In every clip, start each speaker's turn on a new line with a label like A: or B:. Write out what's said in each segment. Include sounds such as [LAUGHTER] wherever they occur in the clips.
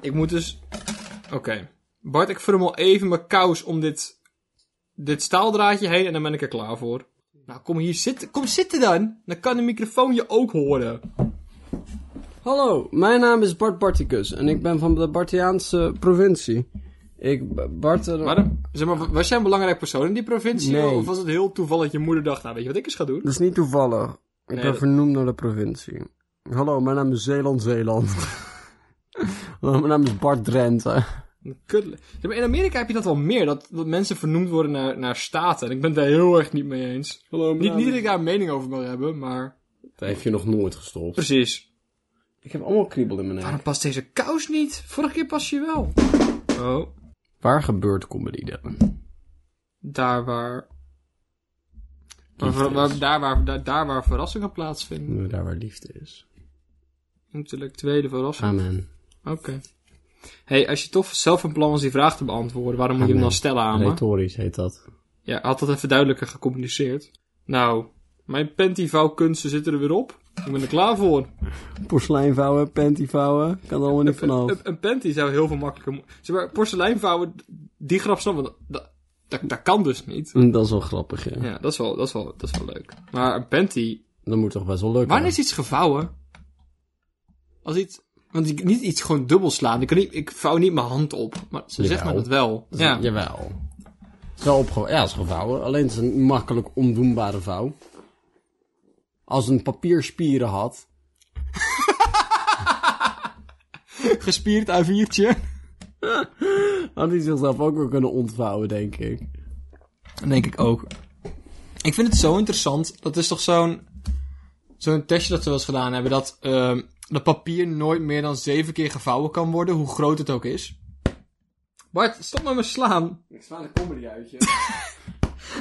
A: ik moet dus... Oké. Bart, ik frummel even mijn kous om dit, dit staaldraadje heen en dan ben ik er klaar voor. Nou, kom hier zitten. Kom zitten dan. Dan kan de microfoon je ook horen.
B: Hallo, mijn naam is Bart Barticus en ik ben van de Bartiaanse provincie. Ik, B- Bart... eh,
A: Waarom? Zeg maar, was jij een belangrijk persoon in die provincie?
B: Nee.
A: Of was het heel toevallig dat je moeder dacht, nou weet je wat ik eens ga doen?
B: Dat is niet toevallig. Ik ben
A: dat-
B: vernoemd naar de provincie. Hallo, mijn naam is Zeeland Zeeland. [LAUGHS] Hallo, mijn naam is Bart [LAUGHS] Drenthe.
A: Kut. Zeg maar, in Amerika heb je dat wel meer, dat, dat mensen vernoemd worden naar, naar staten. En ik ben het daar heel erg niet mee eens.
B: Hallo,
A: Niet, niet dat ik daar een mening over wil hebben, maar...
B: Dat heeft je nog nooit gestopt.
A: Precies.
B: Ik heb allemaal kriebel in mijn nek.
A: Waarom past deze kous niet? Vorige keer past je wel. Oh,
B: Waar gebeurt comedy dan?
A: daar waar... waar- waar- waar- daar, waar daar, daar waar verrassingen plaatsvinden.
B: Daar waar liefde is.
A: Intellectuele verrassing.
B: Amen.
A: Oké. hey, als je toch zelf een plan was die vraag te beantwoorden, waarom moet je hem
B: Ah,
A: dan
B: nee.
A: stellen aan me?
B: Retorisch heet dat.
A: Ja, had dat even duidelijker gecommuniceerd. Nou, mijn pantyvouwkunsten zitten er weer op. Ik ben er klaar voor.
B: Oh. Porselein vouwen, panty vouwen, kan er allemaal niet [LAUGHS]
A: Een,
B: vanaf.
A: een panty zou heel veel makkelijker... mo- Zeg maar, porselein vouwen, die grap snap ik, dat, dat, dat kan dus niet.
B: Dat is wel grappig, ja.
A: Ja, dat is wel, dat is wel, dat is wel leuk. Maar een panty...
B: Dat moet toch best wel lukken.
A: Wanneer is iets gevouwen? Als iets... Want ik, niet iets gewoon dubbel slaan. Ik, kan niet, ik vouw niet mijn hand op. Maar ze zegt me
B: Jawel.
A: dat wel.
B: Dat is-
A: Ja.
B: Jawel. Het is wel opge- ja, het is gevouwen. Alleen het is een makkelijk ondoenbare vouw. Als een papier spieren had.
A: Gespierd A4'tje.
B: Had hij zichzelf ook wel kunnen ontvouwen, denk ik.
A: Dat denk ik ook. Ik vind het zo interessant. Dat is toch zo'n... Zo'n testje dat ze wel eens gedaan hebben. Dat ehm, dat papier nooit meer dan zeven keer gevouwen kan worden. Hoe groot het ook is. Bart, stop met me slaan.
B: Ik sla een comedy uit je.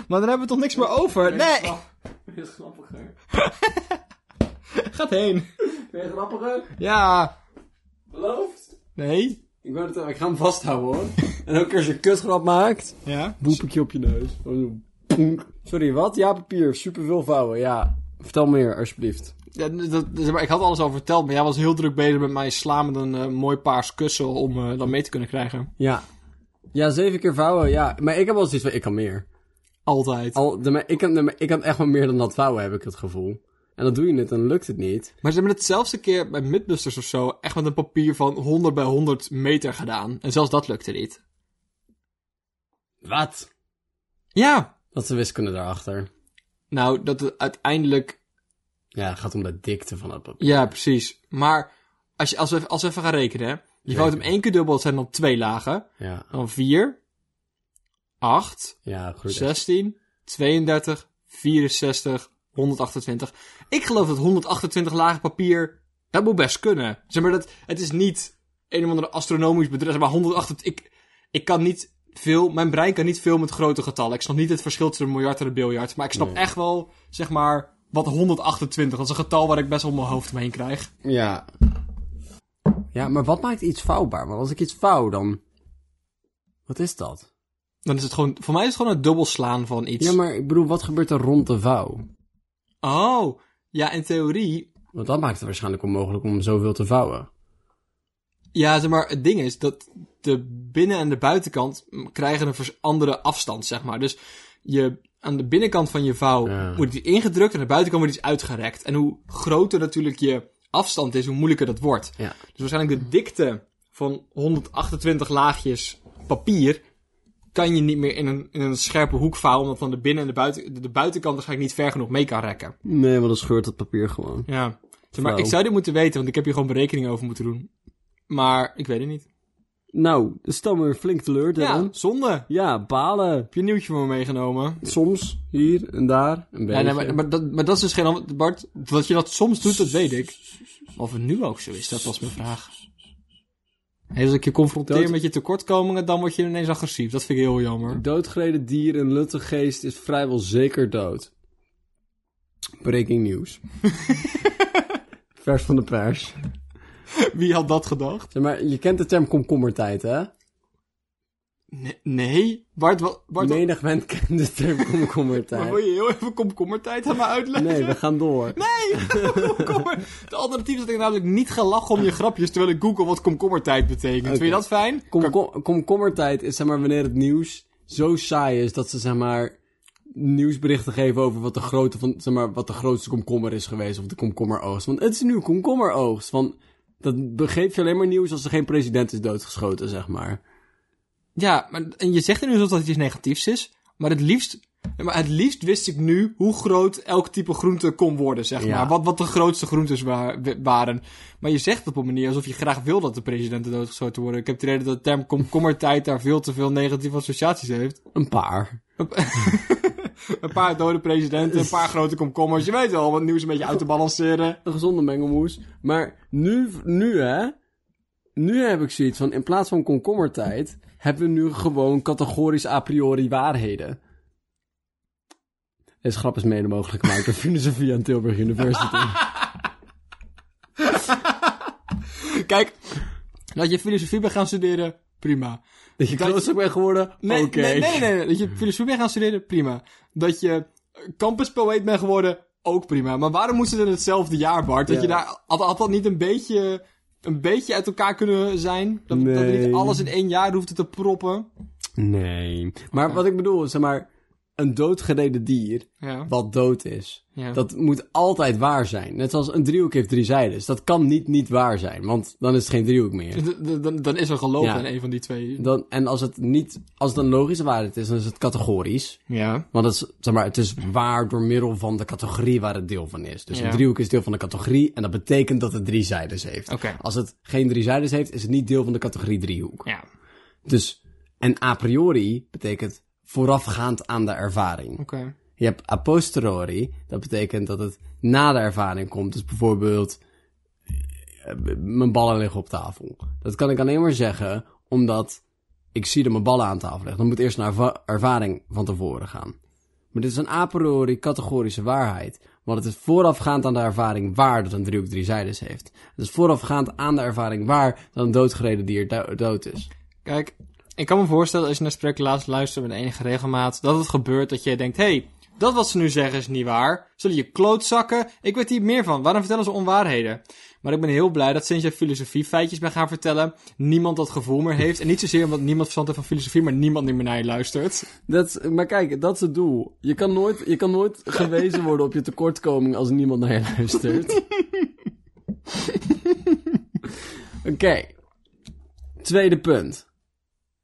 A: Maar dan hebben we toch niks meer over. Nee!
B: Vind je het grappiger?
A: Gaat heen.
B: Vind je het grappiger?
A: Ja.
B: Beloofd?
A: Nee.
B: Ik, ben het, eh, ik ga hem vasthouden hoor. En elke keer als je een kutgrap maakt,
A: Ja.
B: boep ik je op je neus. Gewoon zo, poenk. Sorry, wat? Ja, papier. Superveel vouwen. Ja, vertel meer alsjeblieft.
A: Ja, dat, zeg maar, ik had alles al verteld, maar jij was heel druk bezig met mij slaan met een eh, mooi paars kussen om eh dat mee te kunnen krijgen.
B: Ja. Ja, zeven keer vouwen, ja. Maar ik heb wel zoiets van, ik kan meer.
A: Altijd.
B: Al, de, maar ik, kan, de- maar ik kan echt wel meer dan dat vouwen, heb ik het gevoel. En dan doe je het en dan lukt het niet.
A: Maar ze hebben hetzelfde keer bij Midbusters of zo echt met een papier van 100 bij 100 meter gedaan. En zelfs dat lukte niet.
B: Wat?
A: Ja.
B: Dat is de wiskunde daarachter.
A: Nou, dat het uiteindelijk...
B: Ja, het gaat om de dikte van het papier.
A: Ja, precies. Maar als, je, als, we, als we even gaan rekenen, hè. Je vouwt hem één keer dubbel, dat zijn dan twee lagen.
B: Ja,
A: Dan 4, 8,
B: ja goed.
A: 16, 32, 64, 128. Ik geloof dat 128 lagen papier, dat moet best kunnen. Zeg maar, dat, het is niet een of andere astronomisch bedrijf, maar 128, ik, ik kan niet veel, mijn brein kan niet veel met grote getallen. Ik snap niet het verschil tussen een miljard en een biljard, maar ik snap echt wel, zeg maar, wat 128, dat is een getal waar ik best wel mijn hoofd omheen krijg.
B: Ja. Ja, maar wat maakt iets vouwbaar? Want als ik iets vouw, dan... Wat is dat?
A: Dan is het gewoon, voor mij is het gewoon het dubbel slaan van iets.
B: Ja, maar ik bedoel, wat gebeurt er rond de vouw?
A: Oh, ja, in theorie
B: Want dat maakt het waarschijnlijk onmogelijk om zoveel te vouwen.
A: Ja, zeg maar, het ding is dat de binnen- en de buitenkant mm, krijgen een vers- andere afstand, zeg maar. Dus je, aan de binnenkant van je vouw
B: Ja.
A: wordt iets ingedrukt en aan de buitenkant wordt iets uitgerekt. En hoe groter natuurlijk je afstand is, hoe moeilijker dat wordt.
B: Ja.
A: Dus waarschijnlijk de dikte van 128 laagjes papier kan je niet meer in een, in een scherpe hoek vouwen, omdat dan de binnen- en de, buiten, de- de buitenkant waarschijnlijk niet ver genoeg mee kan rekken.
B: Nee, want dan scheurt het papier gewoon.
A: Ja. Zeg maar,
B: Flauw.
A: ik zou dit moeten weten, want ik heb hier gewoon berekeningen over moeten doen. Maar ik weet het niet.
B: Nou, stel me flink teleur,
A: Ja,
B: Dylan.
A: zonde.
B: Ja, balen.
A: Heb je een nieuwtje voor me meegenomen?
B: Soms, hier en daar, een
A: Ja,
B: beetje.
A: nee, maar, maar, dat, maar dat is dus geen antwoord. Bart, dat je dat soms doet, dat weet ik. Maar Of het nu ook zo is, dat was mijn vraag. Hey, dus als ik je confronteer
B: Dat-
A: met je tekortkomingen, dan word je ineens agressief. Dat vind ik heel jammer.
B: Doodgereden dier in lutte geest is vrijwel zeker dood. Breaking news. [LAUGHS] Vers van de pers.
A: [LAUGHS] Wie had dat gedacht?
B: Zeg maar, je kent de term komkommertijd, hè?
A: Nee, nee. Bart, wat... Bart, wat-
B: Menig mens kent de term
A: maar
B: komkommertijd.
A: wil je heel even komkommertijd aan me uitleggen?
B: Nee, we gaan door.
A: Nee, [LAUGHS] komkommer. De alternatief is dat ik namelijk niet ga lachen om je grapjes terwijl ik google wat komkommertijd betekent. Vind je dat fijn?
B: Komkom- Komkommertijd is zeg maar wanneer het nieuws zo saai is dat ze zeg maar nieuwsberichten geven over wat de, grootte van, zeg maar, wat de grootste komkommer is geweest of de komkommeroogst. Want het is nu komkommeroogst. Want dat begeeft je alleen maar nieuws als er geen president is doodgeschoten, zeg maar.
A: Ja, maar, en je zegt er nu alsof dat het iets negatiefs is, maar het liefst... nee, Maar het liefst wist ik nu hoe groot elk type groente kon worden, zeg
B: Ja.
A: maar. Wat, wat de grootste groentes wa- w- waren. Maar je zegt het op een manier alsof je graag wil dat de presidenten doodgeschoten worden. Ik heb het idee dat de term komkommertijd daar veel te veel negatieve associaties heeft.
B: Een paar.
A: Een paar dode presidenten, een paar grote komkommers. Je weet wel, om het nieuws een beetje uit te balanceren.
B: Een gezonde mengelmoes. Maar nu, nu hè, nu heb ik zoiets van in plaats van komkommertijd hebben we nu gewoon categorisch a priori waarheden. Deze grap is mede mogelijk gemaakt door [LAUGHS] filosofie aan Tilburg
A: [LAUGHS]
B: University.
A: Kijk, dat je filosofie bent gaan studeren, prima.
B: Dat je
A: Dat-
B: klooster bent geworden?
A: Nee,
B: Oké.
A: nee, nee, nee, nee. Dat je filosofie bent gaan studeren, prima. Dat je campuspoëet bent geworden, ook prima. Maar waarom moest het in hetzelfde jaar, Bart? Dat
B: Ja.
A: je daar, had, had dat niet een beetje, een beetje uit elkaar kunnen zijn? Dat, dat je
B: Nee.
A: niet alles in één jaar hoefde te proppen?
B: Nee. Maar wat ik bedoel, zeg maar, een doodgereden dier
A: Ja.
B: wat dood is,
A: Ja.
B: dat moet altijd waar zijn. Net zoals een driehoek heeft drie zijdes. Dat kan niet niet waar zijn, want dan is het geen driehoek meer.
A: D- d- Dan, dan is er geloof
B: Ja.
A: aan een van die twee.
B: Dan, en als het niet, als het een logische waarheid is, dan is het categorisch.
A: Ja.
B: Want het is, zeg maar, het is waar door middel van de categorie waar het deel van is. Dus
A: Ja.
B: een driehoek is deel van de categorie en dat betekent dat het drie zijdes heeft.
A: Oké.
B: Als het geen drie zijdes heeft, is het niet deel van de categorie driehoek.
A: Ja.
B: Dus, en a priori betekent voorafgaand aan de ervaring.
A: Oké.
B: Je hebt a posteriori, dat betekent dat het na de ervaring komt. Dus bijvoorbeeld, eh, mijn ballen liggen op tafel. Dat kan ik alleen maar zeggen omdat ik zie dat mijn ballen aan tafel liggen. Dan moet eerst een erva- ervaring van tevoren gaan. Maar dit is een a priori categorische waarheid. Want het is voorafgaand aan de ervaring waar dat een driehoek drie zijdes heeft. Het is voorafgaand aan de ervaring waar dat een doodgereden dier do- dood is.
A: Kijk, ik kan me voorstellen als je naar speculaas luistert met enige regelmaat, dat het gebeurt dat je denkt, hé, hey, dat wat ze nu zeggen is niet waar. Zullen je klootzakken? Ik weet hier meer van. Waarom vertellen ze onwaarheden? Maar ik ben heel blij dat sinds jij filosofie feitjes bent gaan vertellen, niemand dat gevoel meer heeft. En niet zozeer omdat niemand verstand heeft van filosofie, maar niemand meer naar je luistert.
B: Dat, is- maar kijk, dat is het doel. Je kan nooit, je kan nooit gewezen worden op je tekortkoming als niemand naar je luistert. Oké. Tweede punt.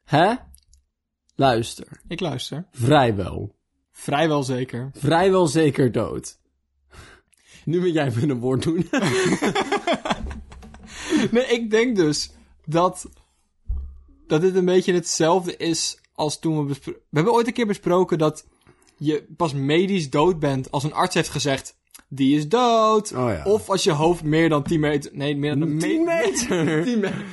B: Hè? Luister.
A: Ik luister.
B: Vrijwel.
A: Vrijwel zeker.
B: Vrijwel zeker dood. Nu moet jij even een woord doen. [LAUGHS]
A: Nee, ik denk dus dat, dat dit een beetje hetzelfde is als toen we besproken... We hebben ooit een keer besproken dat je pas medisch dood bent als een arts heeft gezegd... Die is dood.
B: Oh ja.
A: Of als je hoofd meer dan 10 meter... Nee, meer dan een me-
B: 10
A: [LAUGHS]
B: meter.
A: 10 meter.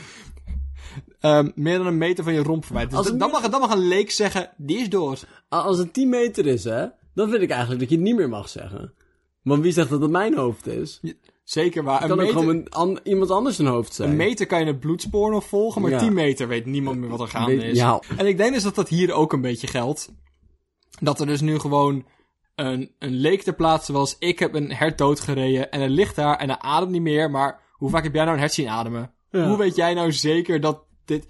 A: Ehm, meer dan een meter van je romp verwijderd. Dus
B: Als het
A: dan, mag, dan mag een leek zeggen, die is dood.
B: Als het 10 meter is, hè? Dan vind ik eigenlijk dat je het niet meer mag zeggen. Want wie zegt dat het mijn hoofd is?
A: Zeker waar. Een
B: Kan ook
A: meter,
B: gewoon een an- iemand anders een hoofd zijn.
A: een meter kan je het bloedspoor nog volgen, maar
B: Ja.
A: 10 meter weet niemand meer wat er gaande
B: Weet-
A: is.
B: ja.
A: En ik denk dus dat dat hier ook een beetje geldt. Dat er dus nu gewoon een, een leek ter plaatse was. Ik heb een hert doodgereden en het ligt daar en hij ademt niet meer. Maar hoe vaak heb jij nou een hert zien ademen?
B: Ja.
A: Hoe weet jij nou zeker dat dit...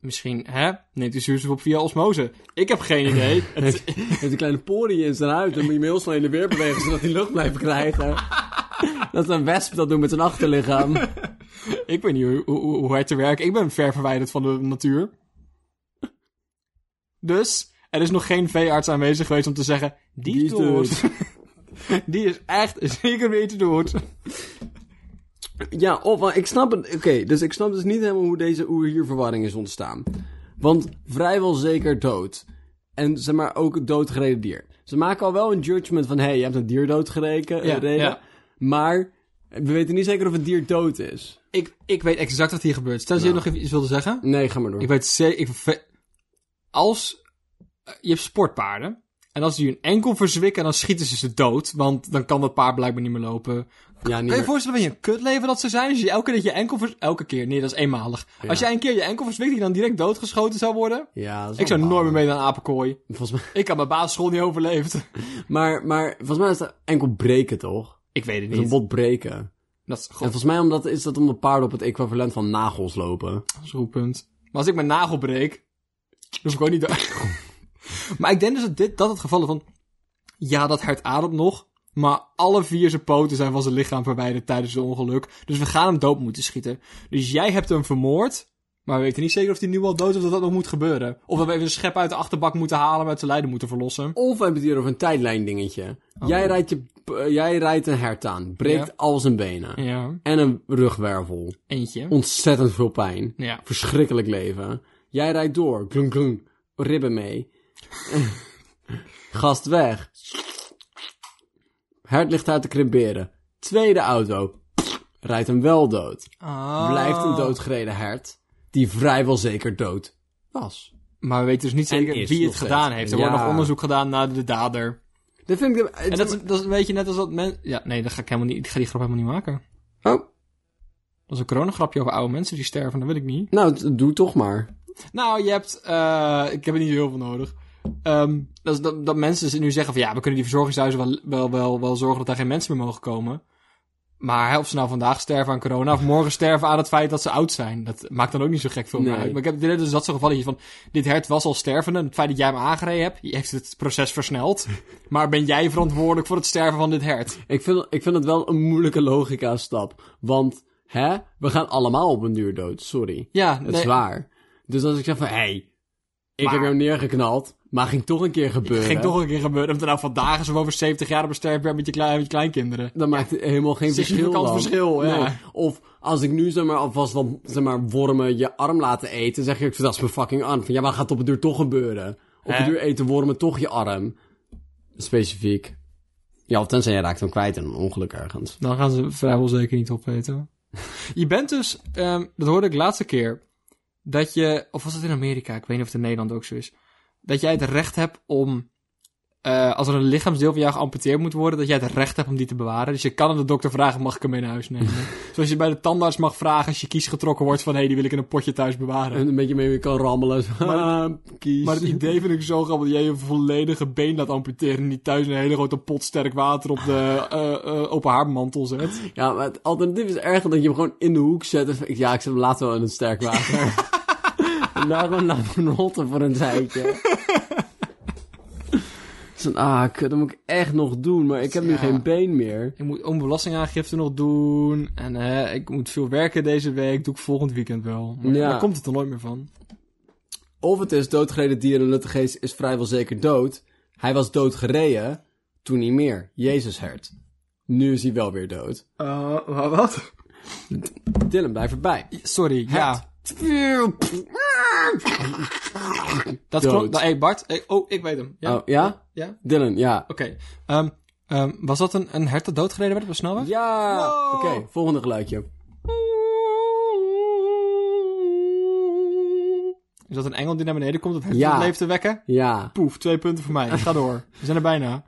A: Misschien, hè? Neemt u zuurstof op via osmose? Ik heb geen
B: [LAUGHS]
A: idee. Het is-
B: Hij heeft een kleine porie in zijn huid. Dan moet je hem heel snel in de weer bewegen, zodat hij lucht blijft krijgen. Dat is een wesp dat doet met zijn achterlichaam.
A: ik weet niet hoe, hoe, hoe- hoe herten werken. Ik ben ver verwijderd van de natuur. Dus, er is nog geen veearts aanwezig geweest om te zeggen... Die,
B: Die
A: is
B: is
A: dood. [LAUGHS] Die is echt zeker weten dood.
B: Ja, of eh, ik snap het. Oké, dus ik snap dus niet helemaal hoe, deze, hoe hier verwarring is ontstaan. Want vrijwel zeker dood. En zeg maar ook het doodgereden dier. Ze maken al wel een judgment van: hé, hey, je hebt een dier doodgereden.
A: Ja,
B: eh, reden.
A: ja.
B: Maar we weten niet zeker of het dier dood is.
A: Ik, ik weet exact wat hier gebeurt. Stel dat je nog even iets wilde zeggen.
B: Nee, ga maar door.
A: Ik weet zeker... Ik, ve- als... eh, Je hebt sportpaarden. En En als die hun enkel verzwikken, dan schieten ze ze dood. Want dan kan dat paard blijkbaar niet meer lopen.
B: Ja, niet
A: Kan je
B: meer-
A: je voorstellen wat je een kutleven dat ze zijn? Als je elke keer dat je enkel vers... Elke keer? Nee, dat is eenmalig.
B: Ja.
A: Als jij een keer je enkel verzwikt, die dan direct doodgeschoten zou worden?
B: Ja, dat is
A: Ik zou
B: wel
A: nooit meer
B: balen.
A: mee naar een apenkooi.
B: Volgens mij,
A: Ik had mijn basisschool niet overleefd.
B: maar, maar volgens mij is dat enkel breken, toch?
A: Ik weet het
B: Dat is Dus een
A: niet.
B: bot breken.
A: Dat is
B: En
A: gewoon
B: volgens mij omdat, is dat omdat paarden op het equivalent van nagels lopen.
A: een goed punt. Maar als ik mijn nagel breek, dan hoef ik ook niet dood. [LAUGHS] maar ik denk dus dat dit dat het geval is van... Ja, dat hert ademt nog. Maar alle vier zijn poten zijn van zijn lichaam verwijderd tijdens het ongeluk. Dus we gaan hem dood moeten schieten. Dus jij hebt hem vermoord. Maar we weten niet zeker of hij nu al dood is of dat dat nog moet gebeuren. Of dat we even een schep uit de achterbak moeten halen en uit zijn lijden moeten verlossen.
B: Of we hebben het hier over een tijdlijn dingetje.
A: Oh.
B: Jij, rijdt je, eh, jij rijdt een hert aan, breekt
A: Ja.
B: al zijn benen.
A: Ja,
B: En een rugwervel.
A: eentje.
B: Ontzettend veel pijn.
A: Ja.
B: Verschrikkelijk leven. Jij rijdt door. Glung glung. Ribben mee. [LAUGHS] Gast weg. Hert ligt uit te kribberen. Tweede auto. Rijdt hem wel dood. Blijft
A: Oh.
B: een doodgereden hert. Die vrijwel zeker dood was.
A: Maar we weten dus niet
B: En
A: zeker
B: is
A: wie het
B: nog steeds.
A: gedaan heeft. Er wordt
B: Ja.
A: nog onderzoek gedaan naar de dader.
B: Dat vind ik...
A: En dat is, dat is een beetje net als dat mensen... Ja, nee, dat ga ik, helemaal niet, ik ga die grap helemaal niet maken.
B: Oh,
A: Dat is een coronagrapje over oude mensen die sterven, dat weet ik niet.
B: nou, d- doe toch maar.
A: Nou, je hebt... eh, ik heb er niet heel veel nodig. Ehm, dat, is dat, dat mensen dus nu zeggen van... Ja, we kunnen die verzorgingshuizen wel, wel, wel, wel zorgen dat daar geen mensen meer mogen komen. Maar hè, of ze nou vandaag sterven aan corona of morgen sterven aan het feit dat ze oud zijn. Dat maakt dan ook niet zo gek veel meer
B: Nee.
A: uit. Maar ik heb dit, dus dat soort gevallen van... Dit hert was al stervende. en Het feit dat jij hem aangereden hebt, heeft het proces versneld.
B: [LAUGHS]
A: maar ben jij verantwoordelijk voor het sterven van dit hert?
B: Ik vind, ik vind het wel een moeilijke logica stap. Want, hè, we gaan allemaal op een duur dood. Sorry.
A: Ja,
B: Het
A: nee,
B: is waar. Dus als ik zeg van, hé, hey, ik
A: Maar-
B: heb jou neergeknald, maar ging toch een keer gebeuren.
A: ging toch een keer gebeuren. Of het nou vandaag is of over 70 jaar op een sterfbed met je, klein, met je kleinkinderen.
B: Dan maakt het helemaal geen verschil
A: Significant
B: dan.
A: verschil, ja.
B: Nee. Of als ik nu zeg maar alvast wat zeg maar, wormen je arm laten eten, zeg ik, dat is mijn fucking arm. Van, ja, maar gaat op het duur toch gebeuren. Op
A: Hè?
B: het duur eten wormen toch je arm. Specifiek. Ja, of tenzij je raakt hem kwijt in een ongeluk ergens.
A: Dan gaan ze vrijwel zeker niet opeten. [LAUGHS] Je bent dus, ehm, dat hoorde ik laatste keer, dat je, of was het in Amerika, ik weet niet of het in Nederland ook zo is, dat jij het recht hebt om, eh, als er een lichaamsdeel van jou geamputeerd moet worden, dat jij het recht hebt om die te bewaren. Dus je kan aan de dokter vragen, mag ik hem mee naar huis [LAUGHS] nemen? Zoals je bij de tandarts mag vragen als je kies getrokken wordt van, hé, die wil ik in een potje thuis bewaren.
B: En een beetje mee kan rammelen.
A: Maar
B: [LAUGHS] Kies.
A: Maar het idee vind ik zo grappig dat jij je volledige been laat amputeren en niet thuis een hele grote pot sterk water op de [LAUGHS] eh, eh, open haarmantel zet.
B: Ja, maar het alternatief is erger dat je hem gewoon in de hoek zet. en van, Ja, ik zet hem later wel in een sterk water. [LAUGHS] en daar gewoon laten rotten voor een tijdje. Zo'n, ah, kut, dat moet ik echt nog doen, maar ik heb nu
A: Ja.
B: geen been meer.
A: Ik moet ook mijn belastingaangifte nog doen. En eh, ik moet veel werken deze week. Doe ik volgend weekend wel. Maar
B: Ja.
A: daar komt het er nooit meer van.
B: Of het is doodgereden dier en luttegeest is vrijwel zeker dood. Hij was doodgereden, toen niet meer. Jezus hert. Nu is hij wel weer dood.
A: wat?
B: Dylan, blijf erbij.
A: Sorry, ja. Dat
B: Dood.
A: klopt. Nou, hey Bart. Hey, oh, ik weet hem. Ja?
B: Oh, ja?
A: Ja?
B: Dylan, ja.
A: Oké. Ehm, ehm, was dat een, een hert dat doodgereden werd op de snelweg?
B: Ja!
A: Wow.
B: Oké, volgende geluidje.
A: Is dat een engel die naar beneden komt om het hert
B: Ja.
A: tot leven te wekken?
B: Ja.
A: Poef, twee punten voor mij. Ga door. We zijn er bijna.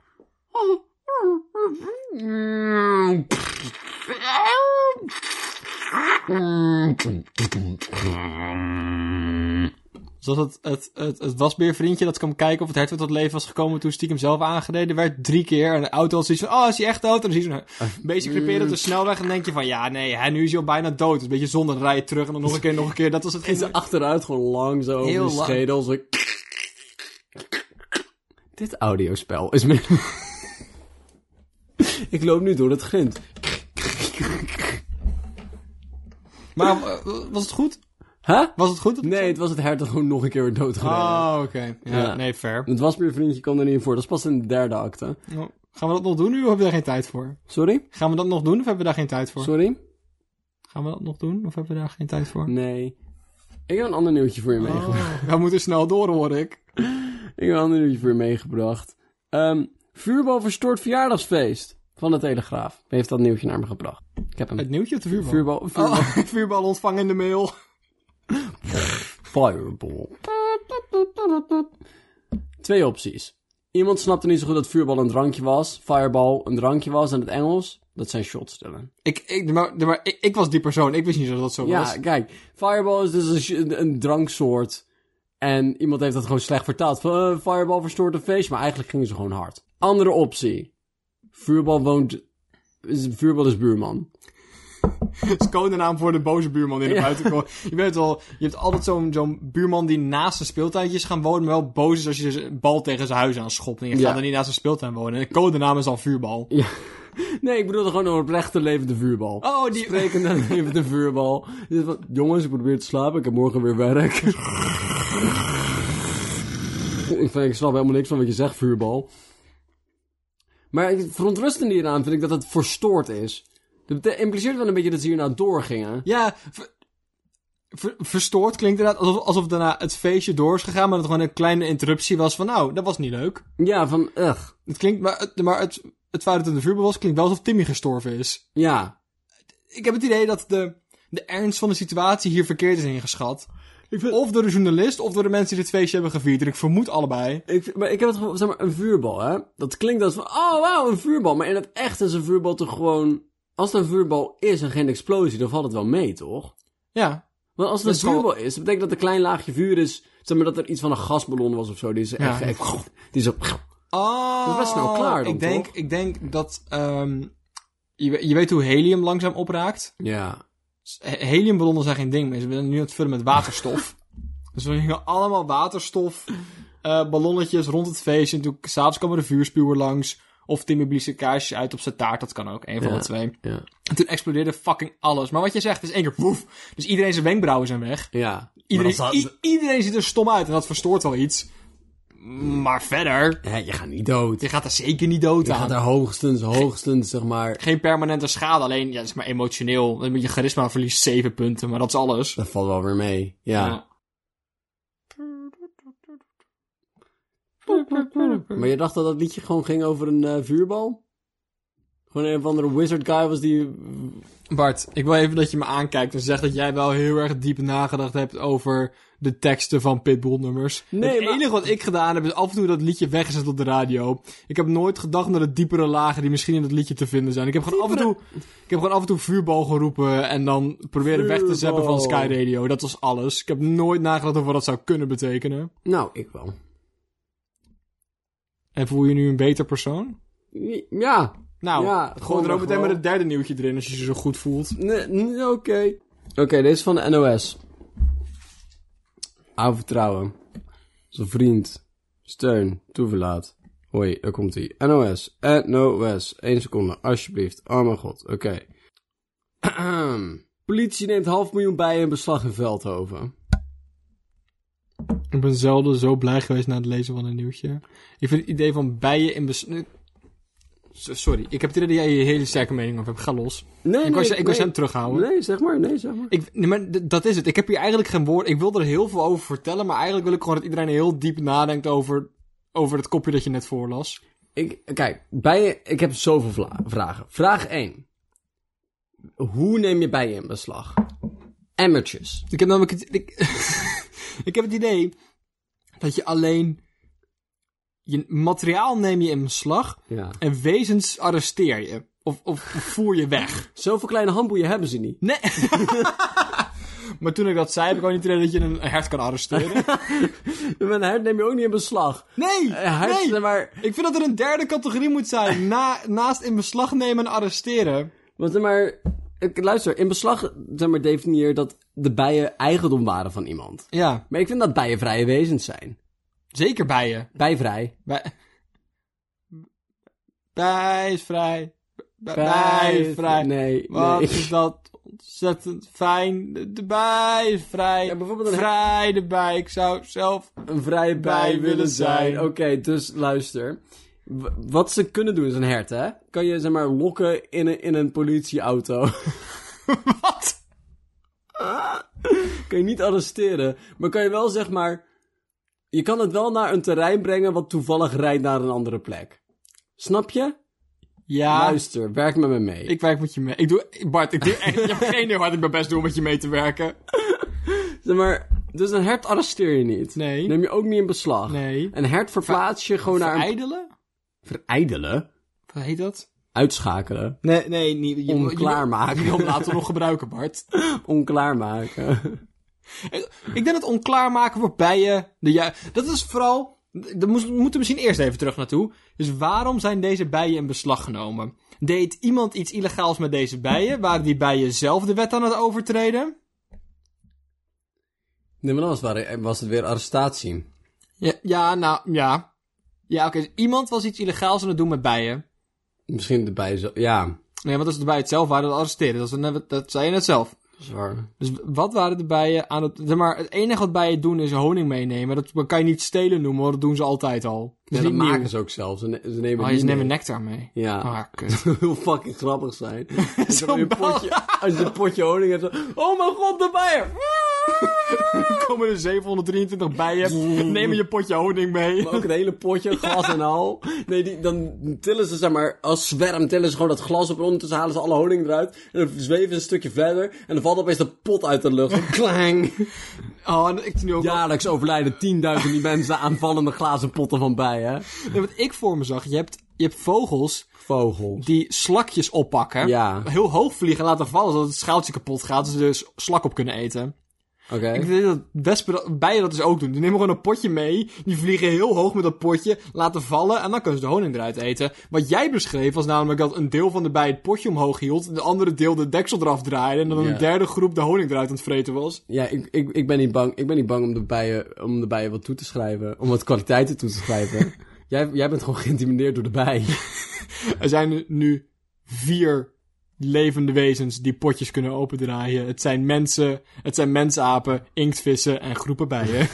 A: Zoals Dus het, het, het, het wasbeervriendje dat kwam kijken of het hert weer tot leven was gekomen toen stiekem zelf aangereden werd. Drie keer. En de auto had zoiets van, oh, is hij echt dood? En dan zie je zo'n beestje creperen op de snelweg en denk je van, ja, nee, hij, nu is hij al bijna dood. Het is een beetje zonde, dan rij je terug en dan nog een keer, nog een keer. Dat was het.
B: En ze achteruit gewoon lang zo over
A: Heel
B: de
A: lang.
B: schedel. Zo... Dit audiospel is me... Ik loop nu door het grind.
A: Maar eh, was het goed?
B: Huh?
A: Was het goed?
B: Nee, het was het hert dat gewoon nog een keer werd doodgereden.
A: Oh, oké. Ja,
B: Ja.
A: nee, fair.
B: Het was weer vriendje kwam er niet in voor. Dat is pas in de derde acte.
A: Nou, Gaan we dat nog doen nu of hebben we daar geen tijd voor?
B: Sorry?
A: Gaan we dat nog doen of hebben we daar geen tijd voor?
B: Sorry?
A: Gaan we dat nog doen of hebben we daar geen tijd voor?
B: Nee. Ik heb een ander nieuwtje voor je meegemaakt.
A: Oh, [LAUGHS] we moeten snel door, hoor ik.
B: Ik heb een ander nieuwtje voor je meegebracht. Ehm vuurbal verstoort verjaardagsfeest van de Telegraaf. Wie heeft dat nieuwtje naar me gebracht? Ik heb
A: Het
B: hem.
A: nieuwtje of de vuurbal?
B: Vuurbal, vuurbal,
A: Oh, [LAUGHS] vuurbal ontvangen in de mail.
B: fireball. Twee opties. Iemand snapte niet zo goed dat vuurbal een drankje was, fireball een drankje was en het Engels, dat zijn shots stellen.
A: Ik, ik, maar, maar ik, ik was die persoon. Ik wist niet zo dat dat zo was. [LAUGHS]
B: Ja, kijk, fireball is dus een, sh- een, een dranksoort en iemand heeft dat gewoon slecht vertaald. Van, eh, fireball verstoort een feest, maar eigenlijk gingen ze gewoon hard. Andere optie. Vuurbal woont... is- Vuurbal is buurman.
A: Het is codenaam voor de boze buurman in de buitenkoor. Je weet wel, je hebt altijd zo'n zo'n buurman die naast zijn speeltuintje is gaan wonen, maar wel boos is als je dus een bal tegen zijn huis aanschopt. En je
B: Ja.
A: gaat er niet naast zijn speeltuin wonen. En de codenaam is al vuurbal.
B: Ja. Nee, ik bedoelde gewoon een oprechte levende vuurbal.
A: Oh, die...
B: Sprekende levende vuurbal. Dus van, jongens, ik moet weer te slapen. Ik heb morgen weer werk. ik, vind, ik snap helemaal niks van wat je zegt, vuurbal. Maar het verontrustende hieraan vind ik dat het verstoord is. Dat bete- impliceert wel een beetje dat ze hierna doorgingen.
A: Ja, ver- ver- verstoord klinkt inderdaad alsof, alsof daarna het feestje door is gegaan, maar dat het gewoon een kleine interruptie was van, nou, dat was niet leuk.
B: Ja, van, ugh.
A: Het klinkt, maar, het, maar het, het feit dat het een vuurbal was, klinkt wel alsof Timmy gestorven is.
B: Ja.
A: Ik heb het idee dat de, de ernst van de situatie hier verkeerd is ingeschat.
B: Ik vind,
A: Of door de journalist, of door de mensen die dit feestje hebben gevierd. En ik vermoed allebei.
B: Ik, maar ik heb het gewoon, zeg maar, een vuurbal, hè. Dat klinkt als van, oh wauw, een vuurbal. Maar in het echt is een vuurbal toch gewoon... Als het een vuurbal is en geen explosie, dan valt het wel mee, toch?
A: Ja.
B: Want als het een
A: Dat zal-
B: vuurbal is, dat betekent dat er een klein laagje vuur is... Zeg maar dat er iets van een gasballon was of zo. Die is echt...
A: Ja.
B: echt- die is zo...
A: Oh.
B: Dat is best snel klaar dan,
A: ik denk,
B: toch?
A: Ik denk dat... ehm, je, we- je weet hoe helium langzaam opraakt.
B: Ja.
A: S- he- Heliumballonnen zijn geen ding meer. Ze zijn nu aan het vullen met
B: [LAUGHS]
A: waterstof. dus we hingen allemaal waterstof... eh, ballonnetjes rond het feest. En toen s'avonds kwam er een vuurspuwer langs. Of Timmy blies een kaarsje uit op zijn taart. Dat kan ook. Een van
B: Ja.
A: de twee.
B: Ja.
A: En toen explodeerde fucking alles. Maar wat je zegt, is één keer woef. Dus iedereen zijn wenkbrauwen zijn weg.
B: Ja.
A: Iedereen,
B: Maar dan zou-
A: i- iedereen ziet er stom uit en dat verstoort wel iets. Maar verder,
B: Hè, je gaat niet dood.
A: je gaat er zeker niet dood
B: Je
A: aan.
B: gaat er hoogstens, hoogstens, zeg maar...
A: Geen permanente schade, alleen ja, dat is maar emotioneel. Dan moet Je charisma verliest 7 punten, maar dat is alles.
B: Dat valt wel weer mee.
A: Ah.
B: Ja. Maar je dacht dat dat liedje gewoon ging over een eh, vuurbal? Gewoon een of andere wizard guy was die...
A: Bart, ik wil even dat je me aankijkt en zegt dat jij wel heel erg diep nagedacht hebt over de teksten van Pitbull-nummers.
B: Nee,
A: het
B: maar-
A: enige wat ik gedaan heb is af en toe dat liedje weggezet op de radio. Ik heb nooit gedacht naar de diepere lagen die misschien in dat liedje te vinden zijn. Ik heb gewoon, af en, toe, ik heb gewoon af en toe vuurbal geroepen en dan proberen weg te zeppen van Sky
B: Vuurbal.
A: Radio. Dat was alles. Ik heb nooit nagedacht over wat dat zou kunnen betekenen.
B: Nou, ik wel.
A: En voel je nu een beter persoon?
B: Ja.
A: Nou,
B: Ja,
A: gooi
B: gewoon
A: er ook
B: maar
A: meteen met
B: gewoon.
A: het derde nieuwtje erin als je je zo goed voelt.
B: Nee, nee, Oké. Oké, deze is van de NOS. Aan vertrouwen. Zijn vriend. Steun. Toeverlaat. Hoi, daar komt hij. NOS. NOS. Eén seconde, alsjeblieft. Oh mijn god, oké. Ahem. Politie neemt half miljoen bijen in beslag in Veldhoven.
A: Ik ben zelden zo blij geweest na het lezen van een nieuwtje. Ik vind het idee van bijen in bes... nu- S- Sorry, ik heb het idee dat jij je hele sterke mening over hebt. Ga los.
B: Nee,
A: ik was,
B: nee,
A: ik was
B: nee.
A: hem terughouden.
B: Nee, zeg maar, nee, zeg maar.
A: Ik, nee, maar d- dat is het. Ik heb hier eigenlijk geen woord... Ik wil er heel veel over vertellen, maar eigenlijk wil ik gewoon dat iedereen heel diep nadenkt over, over het kopje dat je net voorlas.
B: Ik, kijk, bijen, ik heb zoveel vla- vragen. Vraag 1. Hoe neem je bijen in beslag? Emmertjes.
A: Ik heb namelijk het, ik, [LAUGHS] ik heb het idee dat je alleen... Je materiaal neem je in beslag
B: Ja.
A: en wezens arresteer je. Of, of voer je weg.
B: Zoveel kleine handboeien hebben ze niet. [LAUGHS]
A: Nee. [LAUGHS] maar toen ik dat zei, heb ik ook niet het idee dat je een hert kan arresteren.
B: Een hert neem je ook niet in beslag.
A: Nee,
B: [LAUGHS] Een hert, eh,
A: nee.
B: zeg maar...
A: Ik vind dat er een derde categorie moet zijn. Na, naast in beslag nemen en arresteren.
B: Want zeg maar... Ik, luister, in beslag zeg maar, definieer dat de bijen eigendom waren van iemand.
A: Ja,
B: Maar ik vind dat bijen vrije wezens zijn.
A: zeker bijen.
B: Bijvrij.
A: Bij, bij is vrij. Bij, bij is
B: Bijvrij.
A: vrij.
B: Nee,
A: Wat
B: nee.
A: is dat ontzettend fijn. De, de bij is vrij.
B: Ja, bijvoorbeeld een-
A: vrij de bij. Ik zou zelf...
B: een vrije bij willen zijn. Oké, dus luister. W- wat ze kunnen doen is een hert, hè? Kan je, zeg maar, lokken in een, in een politieauto. [LAUGHS]
A: Wat?
B: kan je niet arresteren. Maar kan je wel, zeg maar... Je kan het wel naar een terrein brengen wat toevallig rijdt naar een andere plek. Snap je?
A: Ja.
B: Luister, werk met me mee.
A: Ik werk met je [LAUGHS] mee. Ik doe, Bart, ik doe echt, ik heb geen idee hoe hard ik mijn best doe om met je mee te werken.
B: Zeg maar, Dus een hert arresteer je niet.
A: Nee.
B: Neem je ook niet in beslag.
A: Nee.
B: Een hert verplaats je gewoon naar een...
A: Verijdelen?
B: Verijdelen?
A: Wat heet dat?
B: Uitschakelen.
A: Nee, nee. Niet, je, [LAUGHS] Je, wil
B: Onklaarmaken.
A: hem later nog gebruiken, Bart.
B: Onklaarmaken.
A: Ik denk dat onklaarmaken voor bijen... De ju- dat is vooral... Daar moest- we moeten misschien eerst even terug naartoe. Dus waarom zijn deze bijen in beslag genomen? Deed iemand iets illegaals met deze bijen? Waren die bijen zelf de wet aan het overtreden?
B: Nee, maar dan was het, was het weer arrestatie.
A: Ja, ja nou, ja. Ja, oké. dus iemand was iets illegaals aan het doen met bijen.
B: Misschien erbij zo... Ja,
A: Nee, want als de bijen het zelf waren, dan arresteren. Dat, is net- dat zei je net zelf.
B: dat is waar.
A: Dus wat waren de bijen aan het... zeg Maar het enige wat bijen doen is honing meenemen. Dat kan je niet stelen noemen, hoor. Dat doen ze altijd al. Dat is
B: Ja, dat
A: niet nieuw.
B: maken ze ook zelf. Ze, ne- ze nemen
A: Oh,
B: die
A: je neemt
B: mee.
A: een nectar mee.
B: Ja. [LAUGHS]
A: Ah, kut. [LAUGHS]
B: Het wil fucking grappig zijn. Als je
A: Zo'n
B: een
A: bal.
B: potje, als je een potje honing hebt, zo, oh mijn god, de bijen!
A: Dan komen er 723
B: Mm.
A: bijen, nemen je potje honing mee.
B: Maar [LAUGHS] ook het hele potje, glas en al. Nee, die, dan tillen ze, zeg maar, als zwerm tillen ze gewoon dat glas op en ondertussen halen ze alle honing eruit. En dan zweven ze een stukje verder en dan valt opeens de pot uit de lucht. Klang!
A: Oh, en ik nu ook...
B: Jaarlijks overlijden tienduizenden mensen aan vallende glazen potten van bijen.
A: Nee, wat ik voor me zag, je hebt, je hebt vogels
B: Vogels.
A: die slakjes oppakken.
B: Ja.
A: Heel hoog vliegen en laten vallen, zodat het schaaltje kapot gaat. Dus ze er s- slak op kunnen eten.
B: Oké.
A: Ik denk dat wespen dat- bijen dat dus ook doen. Die nemen gewoon een potje mee. Die vliegen heel hoog met dat potje. Laten vallen. En dan kunnen ze de honing eruit eten. Wat jij beschreef was namelijk dat een deel van de bij het potje omhoog hield. De andere deel de deksel eraf draaide. En dan
B: Ja.
A: een derde groep de honing eruit aan het vreten was.
B: Ja, ik, ik, ik, ben niet bang, ik ben niet bang om de bijen, om de bijen wat toe te schrijven. Om wat kwaliteiten toe te
A: [LAUGHS]
B: schrijven. jij, jij bent gewoon geïntimideerd door de bij.
A: Er zijn nu vier levende wezens die potjes kunnen opendraaien. Het zijn mensen, het zijn mensapen, inktvissen en groepen bijen.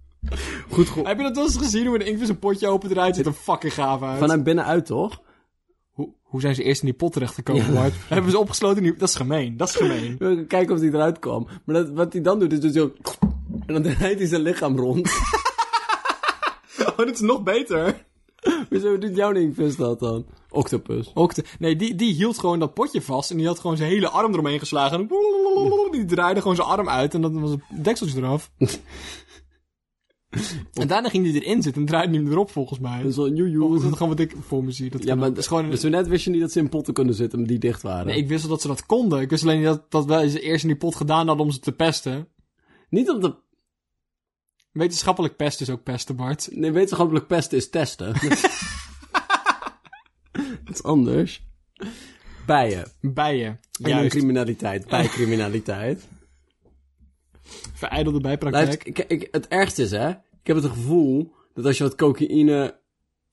A: [LAUGHS]
B: Goed ge-
A: Heb je dat wel eens gezien hoe een inktvis een potje opendraait? Ziet er fucking gaaf uit.
B: Vanuit binnenuit, toch?
A: Hoe, hoe zijn ze eerst in die pot terechtgekomen, Bart? Hebben ze opgesloten in die... Dat is gemeen, dat is gemeen.
B: We gaan Kijken of hij eruit kwam. Maar dat, wat hij dan doet, is dus zo... En dan draait hij zijn lichaam rond.
A: [LAUGHS]
B: [LAUGHS]
A: Oh, dit is nog beter.
B: Hoezo doet jouw inkvis dat dan? Octopus.
A: Ook de- nee, die, die hield gewoon dat potje vast en die had gewoon zijn hele arm eromheen geslagen. En die draaide gewoon zijn arm uit en dan was het dekseltje [LAUGHS] eraf. en daarna ging hij erin zitten en draaide hij hem erop volgens mij.
B: En
A: Dat
B: zo, joe,
A: is
B: joe.
A: gewoon wat ik voor me zie. Dat
B: Ja, maar
A: dat is gewoon een-
B: dus zo net wist je niet dat ze in potten kunnen zitten, maar die dicht waren.
A: Nee, ik wist wel dat ze dat konden. Ik wist alleen niet dat, dat wij ze eerst in die pot gedaan hadden om ze te pesten.
B: Niet op de...
A: Wetenschappelijk pest is ook pesten, Bart.
B: Nee, wetenschappelijk pesten
A: [LAUGHS]
B: is testen. Dat is anders. Bijen.
A: Bijen.
B: En dan
A: Juist.
B: criminaliteit,
A: [LAUGHS]
B: bijcriminaliteit.
A: Verijdelde bijpraktijk.
B: Luister, ik, ik, het ergste is, hè. Ik heb het gevoel dat als je wat cocaïne...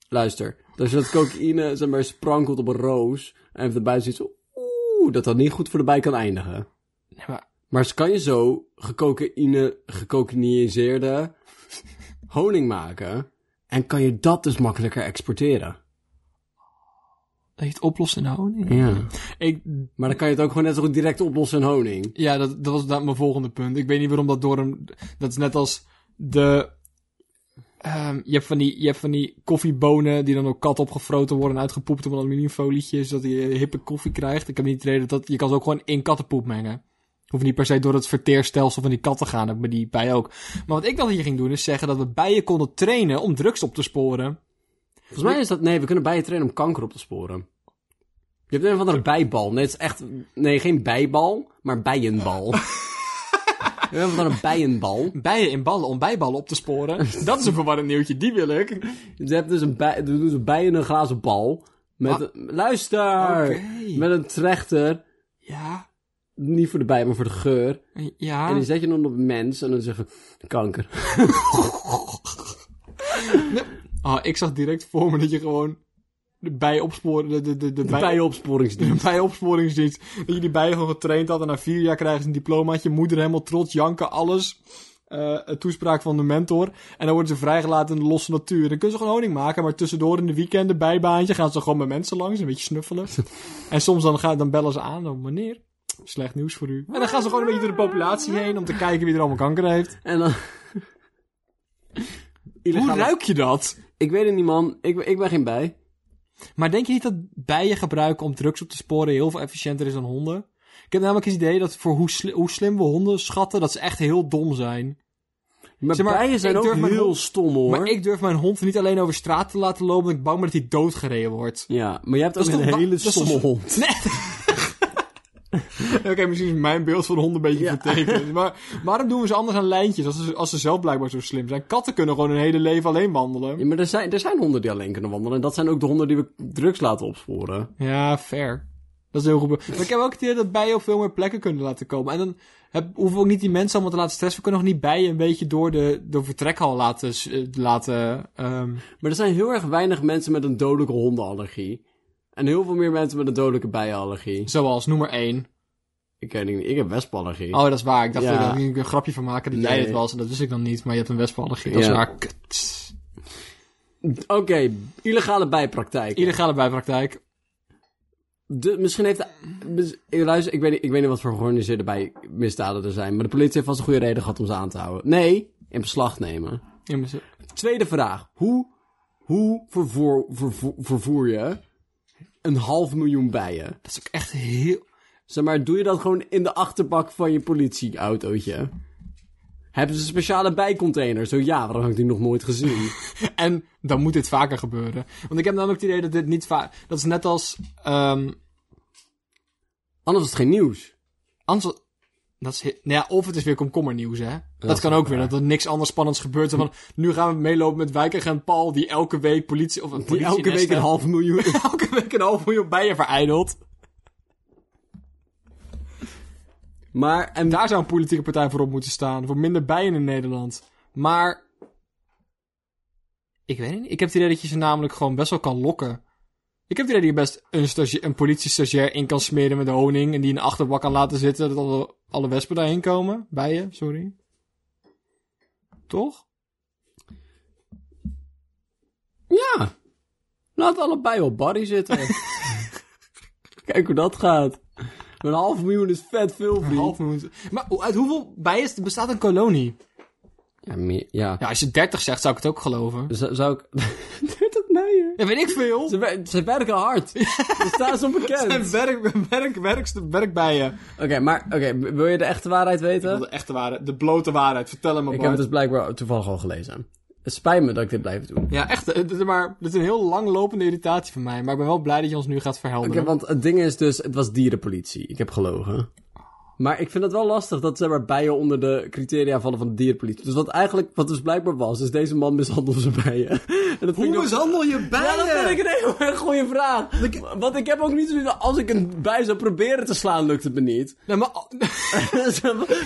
B: Luister, dat als je wat cocaïne, zeg maar, sprankelt op een roos... en de buiten ziet zo... Oeh, dat dat niet goed voor de bij kan eindigen.
A: Nee, maar
B: Maar ze kan je zo gecocaïne,
A: [LAUGHS]
B: gecocaïniseerde honing maken... en kan je dat dus makkelijker exporteren.
A: Dat je het oplossen in de honing?
B: Ja.
A: Nou, Ik,
B: Maar dan kan je het ook gewoon net zo goed direct oplossen in honing.
A: ja, dat, dat was inderdaad mijn volgende punt. Ik weet niet waarom dat door een... Dat is net als de... ehm, je, hebt van die, je hebt van die koffiebonen die dan door kat opgefroten worden en uitgepoept op een aluminiumfolietje, zodat je hippe koffie krijgt. Ik heb niet het idee dat, dat je kan ze ook gewoon in kattenpoep mengen. Hoef niet per se door het verteerstelsel van die kat te gaan, maar die bij ook. Maar wat ik dacht dat je ging doen, is zeggen dat we bijen konden trainen om drugs op te sporen.
B: Volgens mij is dat... Nee, we kunnen bijen trainen om kanker op te sporen. Je hebt een of andere bijbal. Nee, het is echt... Nee, geen bijbal,
A: [LAUGHS]
B: maar bijenbal. Je hebt een of andere bijenbal.
A: Bijen in ballen om bijballen op te sporen.
B: [LAUGHS]
A: Dat is een verwarrend nieuwtje, die wil ik.
B: Je hebt dus een bij, er doen ze bijen in een glazen bal. Met, Luister!
A: Ah. Oké.
B: Met een trechter.
A: Ja,
B: Niet voor de bijen, maar voor de geur.
A: ja.
B: En die zet je dan op een mens en dan zeggen kanker.
A: Ah, ik zag direct voor me dat je gewoon de bij opsporen, de, de, de, de, bij, [LAUGHS]
B: Bijenopsporingsdienst.
A: de bijopsporingsdienst, dat je die bijen gewoon getraind had en na vier jaar krijgen ze een diplomaatje, moeder helemaal trots, janken, alles. Eh, een toespraak van de mentor. En dan worden ze vrijgelaten in de losse natuur. Dan kunnen ze gewoon honing maken, maar tussendoor in de weekenden, bijbaantje, gaan ze gewoon met mensen langs, een beetje [LAUGHS] snuffelen. en soms dan, gaan, dan bellen ze aan, oh, meneer, slecht nieuws voor u. En dan gaan ze gewoon een beetje door de populatie heen om te kijken wie er allemaal kanker heeft.
B: En dan...
A: Hoe
B: Illegale-
A: ruik je dat?
B: Ik weet het niet, man. Ik, ik ben geen bij.
A: Maar denk je niet dat bijen gebruiken om drugs op te sporen heel veel efficiënter is dan honden? Ik heb namelijk het idee dat voor hoe, sli- hoe slim we honden schatten, dat ze echt heel dom zijn.
B: Maar
A: Zeg maar,
B: bijen zijn
A: ik
B: ook
A: durf mijn
B: heel
A: hond-
B: stom, hoor.
A: Maar ik durf mijn hond niet alleen over straat te laten lopen, omdat ik bang ben dat hij doodgereden wordt.
B: Ja, maar jij hebt ook
A: is toch
B: een
A: ba-
B: hele
A: dat is toch-
B: stomme hond.
A: [LAUGHS] Nee. Oké, misschien is mijn beeld van honden een beetje
B: Ja.
A: [LAUGHS] vertekend. Maar waarom doen we ze anders aan lijntjes als ze, als ze zelf blijkbaar zo slim zijn? Katten kunnen gewoon hun hele leven alleen
B: Ja,
A: wandelen.
B: maar er zijn, er zijn honden die alleen kunnen wandelen. En dat zijn ook de honden die we drugs laten opsporen.
A: Ja, fair. Dat is heel goed. be- Maar ik heb ook het idee dat bijen op veel meer plekken kunnen laten komen. En dan heb, hoeven we ook niet die mensen allemaal te laten stressen. We kunnen nog niet bijen een beetje door de, door vertrekhal laten... s- eh, laten ehm,
B: Maar er zijn heel erg weinig mensen met een dodelijke hondenallergie. En heel veel meer mensen met een dodelijke bijenallergie.
A: zoals nummer 1.
B: Ik weet niet, ik heb wespallergie.
A: Oh, dat is waar. Ik dacht
B: Ja.
A: dat ik een grapje van maken dat jij
B: Nee.
A: dit was. En dat wist ik dan niet. Maar je hebt een wespenallergie. Dat is
B: Ja.
A: waar. Kut.
B: Oké, illegale bijpraktijk.
A: Illegale bijpraktijk.
B: De, misschien heeft... de- mis- eh, Luister, ik weet, niet, ik weet niet wat voor georganiseerde bij misdaden er zijn. Maar de politie heeft vast een goede reden gehad om ze aan te houden. Nee, in beslag nemen.
A: In mijn zin.
B: Tweede vraag. Hoe, hoe vervoer, vervoer, vervoer je een half miljoen bijen?
A: Dat is ook echt heel...
B: Zeg maar, doe je dat gewoon in de achterbak van je politieautootje? Hebben ze speciale bijcontainers? Zo ja, waarom heb ik die nog nooit gezien?
A: En dan moet dit vaker gebeuren. Want ik heb namelijk het idee dat dit niet vaak... Dat is net als... ehm
B: Anders is het geen nieuws.
A: anders... was- Dat is, he- nou ja, of het is weer komkommernieuws, hè. Dat,
B: is
A: kan
B: ook
A: ook weer.
B: waar.
A: Dat er niks anders spannends gebeurt dan van... Nu gaan we meelopen met wijkagent Paul... Die elke week politie... Of
B: Die elke week een half miljoen.
A: [LAUGHS] elke week een half miljoen bijen verijdelt.
B: Maar, en
A: Daar zou een politieke partij voor op moeten staan. Voor minder bijen in Nederland. Maar. Ik weet het niet. Ik heb het idee dat je ze namelijk gewoon best wel kan lokken. Ik heb het idee dat je best een, stagia- een politiestagiair in kan smeren met honing. En die in de achterbak kan laten zitten. Dat alle, alle wespen daarheen komen. Bijen, sorry. Toch?
B: ja. Laat alle bijen op Barry
A: [LAUGHS]
B: zitten. Kijk hoe dat gaat. Een half miljoen is vet veel,
A: Een half
B: vriend.
A: miljoen. Maar hoe- uit hoeveel bijen is- bestaat een kolonie?
B: Ja, meer, ja.
A: Ja, als je 30 zegt, zou ik het ook geloven.
B: Zou, zou ik... [LAUGHS] Duurt dat nou, joh?
A: Dat weet ik veel.
B: Ze, wer- ze werken [LAUGHS] hard. Ze staan zo bekend.
A: Werk, werk, werk, werk bijen.
B: Oké, maar oké, w- wil je de echte waarheid
A: Dat
B: weten?
A: de echte waarheid, de blote waarheid. Vertel hem maar.
B: Ik heb het dus blijkbaar toevallig al gelezen. Het spijt me dat ik dit blijf doen.
A: Ja, echt. eh, dit- Maar dit is een heel langlopende irritatie van mij. Maar ik ben wel blij dat je ons nu gaat
B: Oké,
A: verhelderen.
B: want het ding is dus, het was dierenpolitie. Ik heb gelogen. Maar ik vind het wel lastig dat ze maar bijen onder de criteria vallen van de dierenpolitie. Dus wat eigenlijk, wat dus blijkbaar was, is deze man mishandelde zijn bijen. [LAUGHS] En dat vind ik ook-
A: mishandel je
B: Ja, dat vind ik een heel erg goede vraag. Want ik heb ook niet zoiets van, als ik een bij zou proberen te slaan, lukt het me [LAUGHS] niet.
A: Nee, maar,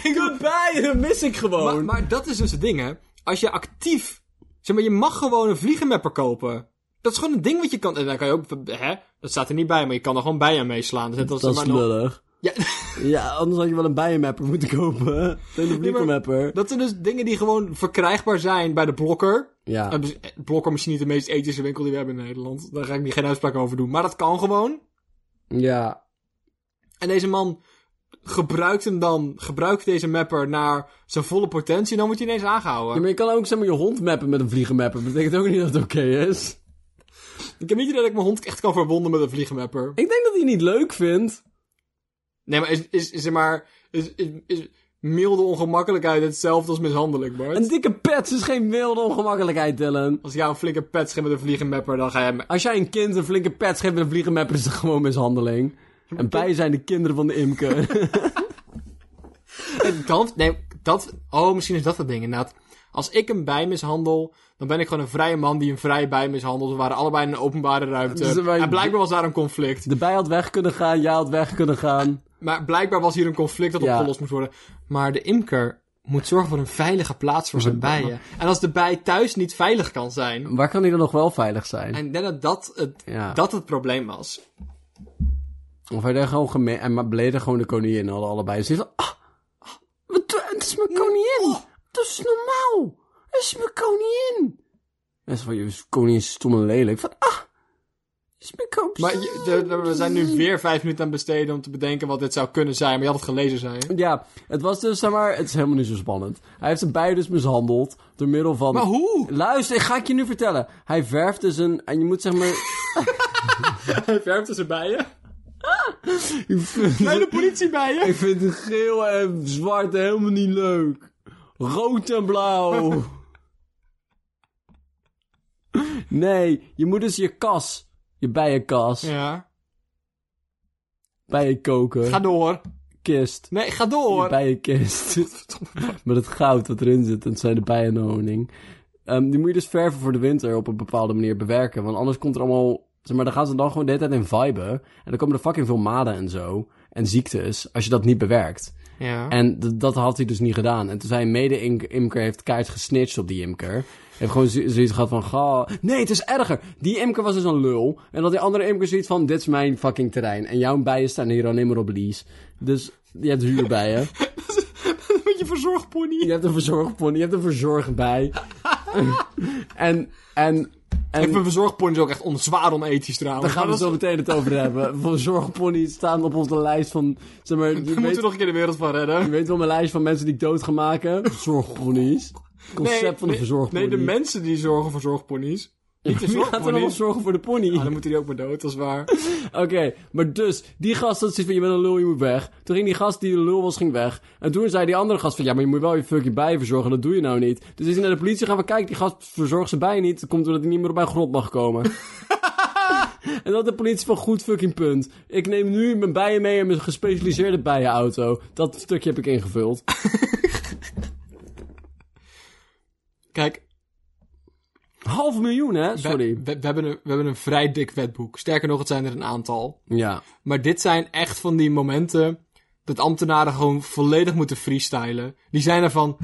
B: Kut bijen, mis ik
A: [LAUGHS]
B: gewoon.
A: maar, maar dat is dus het ding, hè. Als je actief... Zeg maar, je mag gewoon een vliegenmapper kopen. Dat is gewoon een ding wat je kan... En dan kan je ook... Hè? Dat staat er niet bij, maar je kan er gewoon bijen mee slaan. Dus net als
B: Dat
A: maar
B: is
A: nog-
B: lullig.
A: Ja, [LAUGHS]
B: Ja, anders had je wel een bijenmapper moeten kopen. Een vliegenmapper.
A: dat zijn dus dingen die gewoon verkrijgbaar zijn bij de blokker.
B: Ja.
A: Eh, dus, eh, Blokker misschien niet de meest ethische winkel die we hebben in Nederland. Daar ga ik niet geen uitspraak over doen. Maar dat kan gewoon.
B: Ja.
A: En deze man gebruikt hem dan, gebruikt deze mapper naar zijn volle potentie, dan wordt hij ineens aangehouden.
B: Ja, maar je kan ook zeg maar, je hond mappen met een vliegenmapper. Betekent ook niet dat het oké is.
A: Ik heb niet het idee dat ik mijn hond echt kan verwonden met een vliegenmapper.
B: Ik denk dat hij het niet leuk vindt.
A: Nee, maar is, is, is er maar, is, is, is milde ongemakkelijkheid hetzelfde als mishandeling, Bart?
B: Een dikke pet is geen wilde ongemakkelijkheid, Dylan.
A: Als ik jou een flinke pet geeft met een vliegenmapper, dan ga jij me...
B: Als jij een kind een flinke pet geeft met een vliegenmapper, is dat gewoon mishandeling. En bijen zijn de kinderen van de imker. [LAUGHS]
A: En Dan, nee, Eh, dat... Oh, misschien is dat het ding, inderdaad. Als ik een bij mishandel, dan ben ik gewoon een vrije man die een vrije bij mishandelt. We waren allebei in een openbare ruimte.
B: Dus wij-
A: En blijkbaar was daar een conflict.
B: De bij had weg kunnen gaan, jij had weg kunnen gaan.
A: Maar blijkbaar was hier een conflict dat
B: Ja.
A: opgelost moest worden. Maar de imker moet zorgen voor een veilige plaats voor zijn bijen. En als de bij thuis niet veilig kan zijn.
B: Waar kan hij dan nog wel veilig zijn?
A: En ik denk dat dat het,
B: Mm. Ja.
A: dat het probleem was.
B: Of hij daar gewoon gemeen... En maar beleden gewoon de koningin en hadden allebei. Ze van... Ah, ah, wat, doe- het is mijn koningin. Oh, Dat is normaal. Het is mijn koningin. En ze van, je koningin is stom en lelijk. Van, ah, het is mijn koningin.
A: Maar je- de- de- we zijn nu weer vijf minuten aan het besteden om te bedenken wat dit zou kunnen zijn. Maar je had het gelezen, zei je.
B: Ja, het was dus, zeg maar... Het is helemaal niet zo spannend. Hij heeft ze beiden dus mishandeld door middel van...
A: Maar hoe?
B: Luister, ik ga ik je nu vertellen. Hij verft dus een... En je moet zeg [LAUGHS] maar...
A: Hij verfde zijn bijen. Kleine politiebijen.
B: [LAUGHS] ik vind het geel en zwart helemaal niet leuk. Rood en blauw. nee, je moet dus je kas, je bijenkas,
A: Ja.
B: bijen koken,
A: Ga door.
B: kist,
A: Nee, ga
B: je
A: door. [LAUGHS]
B: bijenkist. Met het goud dat erin zit, en het zijn de bijen en de honing. Ehm, die moet je dus verven voor de winter op een bepaalde manier bewerken. Want anders komt er allemaal... Zeg maar, dan gaan ze dan gewoon de hele tijd in viben. En dan komen er fucking veel maden en zo. En ziektes, als je dat niet bewerkt.
A: Ja.
B: En d- dat had hij dus niet gedaan. En toen zijn mede-imker heeft keihard gesnitcht op die imker. Heeft gewoon zo- zoiets gehad van, ga... Nee, het is erger. Die imker was dus een lul. En dat die andere imker zoiets van, dit is mijn fucking terrein. En jouw bijen staan hier al nimmer op lease. Dus je hebt huurbijen.
A: Met je verzorgpony.
B: Je hebt een verzorgpony, je hebt een verzorgbij. [LAUGHS] en, en,
A: Ik
B: en
A: vind verzorgponies ook echt on- zwaar onethisch trouwens.
B: daar gaan we
A: Maar dat-
B: zo meteen het over hebben. Verzorgponies staan op onze lijst van, zeg maar, je
A: Daar
B: weet,
A: moeten we nog een keer de wereld van
B: je
A: redden.
B: weet wel mijn lijst van mensen die ik dood ga maken. Verzorgponies. Het concept van de verzorgpony.
A: Nee, de mensen die zorgen voor zorgponies.
B: [LAUGHS]
A: Niet de
B: Wie gaat er allemaal
A: zorgponies.
B: zorgen voor de pony?
A: Ah, dan moeten die ook maar dood, dat is
B: [LAUGHS]
A: waar.
B: Oké, maar dus, die gast had zoiets van, je bent een lul, je moet weg. Toen ging die gast die een lul was, ging weg. En toen zei die andere gast van, ja, maar je moet wel je fucking bijen verzorgen, dat doe je nou niet. Dus is hij naar de politie gaan van, kijk, die gast verzorgt zijn bijen niet. Dat komt doordat hij niet meer op mijn grond
A: [LAUGHS]
B: mag komen. en dat de politie van, goed fucking punt. Ik neem nu mijn bijen mee en mijn gespecialiseerde bijenauto. Dat stukje heb ik ingevuld.
A: Kijk,
B: Half miljoen, hè?
A: we,
B: Sorry.
A: we- we hebben een, we hebben een vrij dik wetboek. Sterker nog, het zijn er een aantal.
B: Ja.
A: Maar dit zijn echt van die momenten dat ambtenaren gewoon volledig moeten freestylen. Die zijn ervan...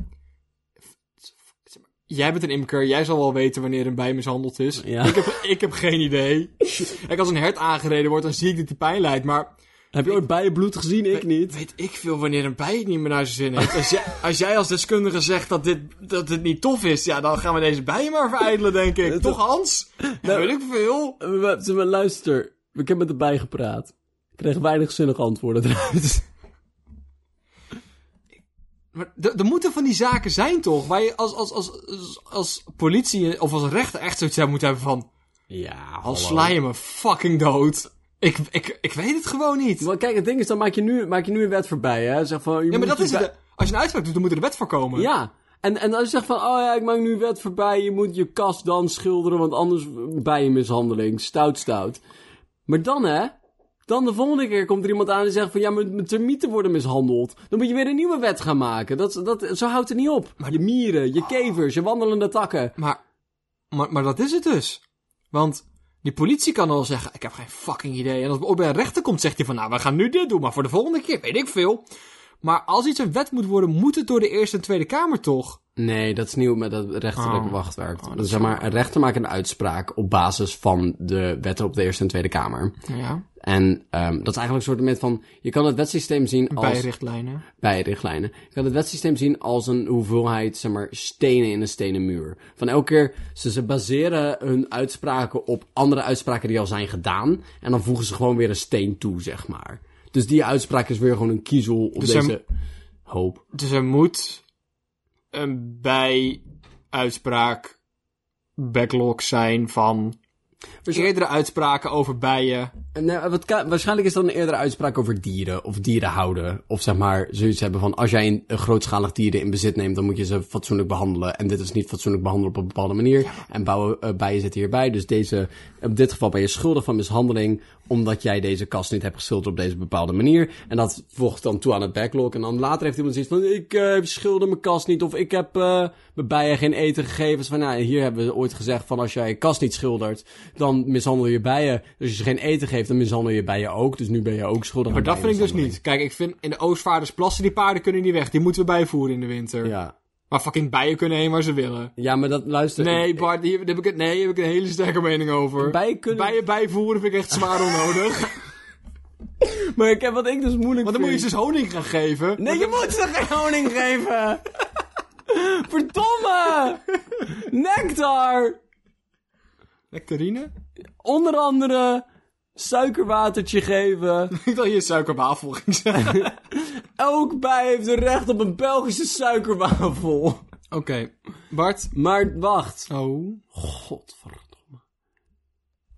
A: Jij bent een imker, jij zal wel weten wanneer een bij mishandeld is.
B: Ja.
A: Ik, heb, ik heb geen
B: [LAUGHS]
A: idee. Kijk, als een hert aangereden wordt, dan zie ik dat die pijn lijdt, maar...
B: Heb je ooit bijenbloed gezien? Ik niet.
A: Weet ik veel wanneer een bij het niet meer naar zijn zin heeft. Als
B: [LAUGHS]
A: jij als, jij als deskundige zegt dat dit, dat dit niet tof is, ja, dan gaan we deze bijen maar verijdelen, denk
B: [LAUGHS]
A: ik. Toch, Hans?
B: Nou-
A: Dat weet ik veel.
B: Eh, we- ze- maar Luister, ik heb met de bij gepraat. Ik kreeg weinig zinnige antwoorden [LAUGHS] eruit.
A: Maar d- er moeten van die zaken zijn, toch? Waar je als, als, als, als, als politie of als rechter echt zoiets aan moet hebben van...
B: Ja,
A: Al sla je me fucking dood. Ik, ik, ik weet het gewoon niet.
B: Maar kijk, het ding is, dan maak je nu, maak je nu een wet voorbij, hè? Zeg van, je
A: Ja, maar
B: moet
A: dat
B: je
A: is
B: bij-
A: het. Als je een uitspraak doet, dan moet er de wet voor komen.
B: Ja. En, en als je zegt van, oh ja, ik maak nu een wet voorbij, je moet je kast dan schilderen, want anders bij je mishandeling. Stout, stout. Maar dan, hè? Dan de volgende keer komt er iemand aan en zegt van, ja, mijn, mijn termieten worden mishandeld. Dan moet je weer een nieuwe wet gaan maken. Dat, dat, zo houdt het niet op. je mieren, je kevers, je wandelende takken.
A: Maar, maar, maar dat is het dus. Want die politie kan al zeggen, ik heb geen fucking idee. En als het ook bij een rechter komt, zegt hij van, nou, we gaan nu dit doen. Maar voor de volgende keer, weet ik veel. Maar als iets een wet moet worden, moet het door de Eerste en Tweede Kamer toch?
B: Nee, dat is nieuw met dat rechterlijke
A: Oh.
B: wachtwerk.
A: dat
B: dus
A: is
B: zeg maar, een rechter maakt een uitspraak op basis van de wetten op de Eerste en Tweede Kamer.
A: Nou Ja,
B: En ehm, dat is eigenlijk een soort moment van... Je kan het wetsysteem zien als...
A: bij richtlijnen.
B: bij richtlijnen. Je kan het wetsysteem zien als een hoeveelheid, zeg maar, stenen in een stenen muur. Van elke keer, ze, ze baseren hun uitspraken op andere uitspraken die al zijn gedaan. En dan voegen ze gewoon weer een steen toe, zeg maar. Dus die uitspraak is weer gewoon een kiezel op
A: Dus er-
B: deze hoop.
A: Dus er moet een bij-uitspraak backlog zijn van eerdere uitspraken over bijen.
B: En, eh, wat ka- waarschijnlijk is dat een eerdere uitspraak over dieren of dieren houden. Of zeg maar zoiets hebben van als jij een, een grootschalig dieren in bezit neemt, dan moet je ze fatsoenlijk behandelen. En dit is niet fatsoenlijk behandelen op een bepaalde manier. En bouwen, eh, bijen zitten hierbij. Dus deze, op dit geval ben je schuldig van mishandeling omdat jij deze kast niet hebt geschilderd op deze bepaalde manier. En dat voegt dan toe aan het backlog. En dan later heeft iemand zoiets van ik eh, schilder mijn kast niet of ik heb eh, mijn bijen geen eten gegeven. Dus van nou, hier hebben we ooit gezegd van als jij je kast niet schildert, dan mishandel je bijen. Dus als je ze geen eten geeft, dan mishandel je bijen ook. Dus nu ben je ook schuldig
A: Maar
B: aan
A: dat vind ik dus niet. Kijk, ik vind in de Oostvaardersplassen, die paarden kunnen niet weg. Die moeten we bijvoeren in de winter.
B: Ja.
A: Maar fucking bijen kunnen heen waar ze willen.
B: ja, maar dat luister.
A: Nee, Bart, hier, daar heb ik, het- nee, hier heb ik een hele sterke mening over.
B: Bijen kunnen...
A: Bijen bijvoeren vind ik echt zwaar onnodig.
B: Maar ik heb wat ik dus moeilijk
A: Want dan moet je ze dus honing gaan geven.
B: Nee, je moet ze geen honing
A: [LAUGHS]
B: geven! Verdomme! Nectar!
A: Nectarine?
B: Onder andere suikerwatertje geven.
A: [LAUGHS] Ik dacht je suikerwafel ging zeggen.
B: Elk bij heeft een recht op een Belgische suikerwafel.
A: Oké, Bart.
B: Maar wacht.
A: Oh.
B: Godverdomme.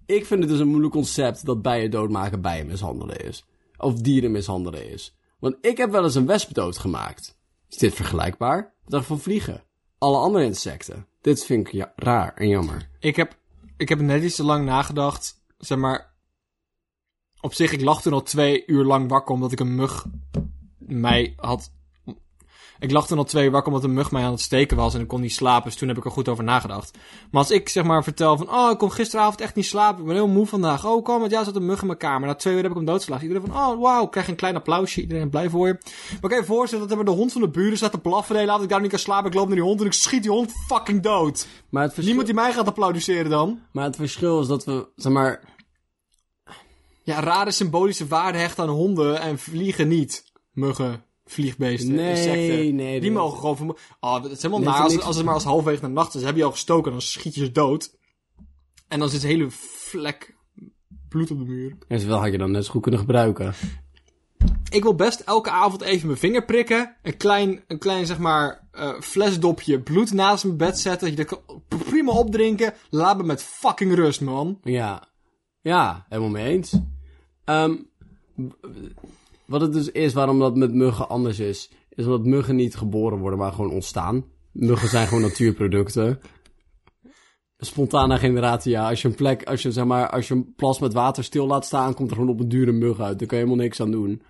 B: Ik vind het dus een moeilijk concept dat bijen doodmaken bijen mishandelen is. Of dieren mishandelen is. Want ik heb wel eens een wesp doodgemaakt. Is dit vergelijkbaar? Ik dacht van vliegen. Alle andere insecten. Dit vind ik ja- raar en jammer.
A: Ik heb, ik heb net iets te lang nagedacht. Zeg maar. Op zich, ik lag toen al twee uur lang wakker omdat ik een mug mij had. Ik lag toen al twee uur wakker omdat een mug mij aan het steken was en ik kon niet slapen. Dus toen heb ik er goed over nagedacht. Maar als ik zeg maar vertel van. Oh, ik kon gisteravond echt niet slapen. Ik ben heel moe vandaag. Oh, kom, want ja, er zat een mug in mijn kamer. Na twee uur heb ik hem doodslag. Iedereen van. Oh, wauw, ik krijg een klein applausje. Iedereen blij voor je. Maar ik kan je voorstellen dat er bij de hond van de buren staat te blaffen. De hele avond, ik daar niet kan slapen. Ik loop naar die hond en ik schiet die hond fucking dood.
B: Maar het, verschil,
A: Niemand die mij gaat applaudisseren dan.
B: maar het verschil is dat we, zeg maar,
A: Ja, rare symbolische waarde hecht aan honden en vliegen niet. Muggen, vliegbeesten,
B: Nee,
A: insecten.
B: nee,
A: die
B: dat-
A: mogen gewoon vermo- Oh, dat is helemaal
B: Dat is
A: naar. Als,
B: niks-
A: als het maar als halfwege naar de nacht is, heb je al gestoken, dan schiet je ze dood. En dan zit een hele vlek bloed op de muur.
B: en zowel had je dan net zo goed kunnen gebruiken.
A: Ik wil best elke avond even mijn vinger prikken. Een klein, een klein zeg maar, eh, flesdopje bloed naast mijn bed zetten. Dat je dat kan prima opdrinken. Laat me met fucking rust, man.
B: Ja, ja, helemaal mee eens. Ehm, w- wat het dus is, waarom dat met muggen anders is, is omdat muggen niet geboren worden, maar gewoon ontstaan. Muggen zijn gewoon natuurproducten. Spontane generatie, ja. Als je een plek, als je zeg maar, als je een plas met water stil laat staan, komt er gewoon op een dure mug uit. Daar kan je helemaal niks aan doen.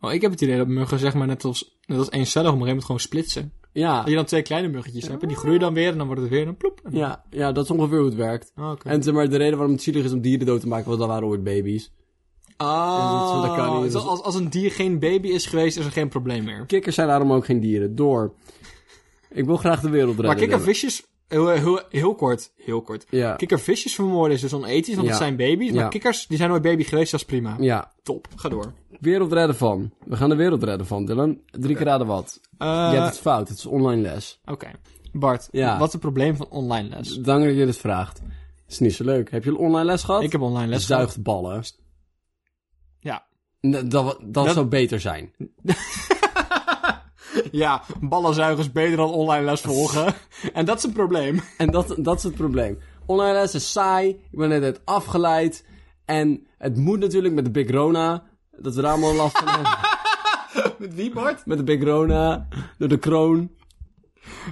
A: Oh, ik heb het idee dat muggen zeg maar net als, net als één cel op een gegeven moment gewoon splitsen.
B: Ja,
A: Dat je dan twee kleine muggetjes hebt en die groeien dan weer en dan wordt het weer een ploep. En...
B: ja, ja, dat is ongeveer hoe het werkt.
A: Ah, oké.
B: En zeg maar, de reden waarom het zielig is om dieren dood te maken, want dat waren ooit baby's.
A: Ah,
B: dat kan niet.
A: zo als, als een dier geen baby is geweest, is er geen probleem meer.
B: Kikkers zijn daarom ook geen dieren. Door. Ik wil graag de wereld redden.
A: Maar kikkervisjes, heel, heel, heel kort, heel kort.
B: Ja.
A: Kikkervisjes vermoorden is dus onethisch, want
B: Ja.
A: het zijn baby's. Maar
B: Ja.
A: kikkers, die zijn nooit baby geweest, dat is prima.
B: Ja,
A: Top, ga door.
B: wereld redden van. We gaan de wereld redden van, Dylan. Drie keer raden wat.
A: Eh,
B: Je hebt het fout, het is online les.
A: Oké. Bart,
B: Ja.
A: wat is het probleem van online les?
B: Dank dat je dit vraagt. Is niet zo leuk. Heb je een online les gehad?
A: Ik heb online les gehad.
B: Zuigt ballen.
A: Ja.
B: N- Dat, dat, zou beter zijn.
A: ja, ballenzuigers beter dan online les
B: [LAUGHS]
A: volgen. en dat is een probleem.
B: En dat, dat is het probleem. Online les is saai. Ik ben net net afgeleid. En het moet natuurlijk met de Big Rona. Dat we daar allemaal last van
A: [LAUGHS]
B: hebben.
A: Met wie, Bart?
B: Met de Big Rona. Door de kroon.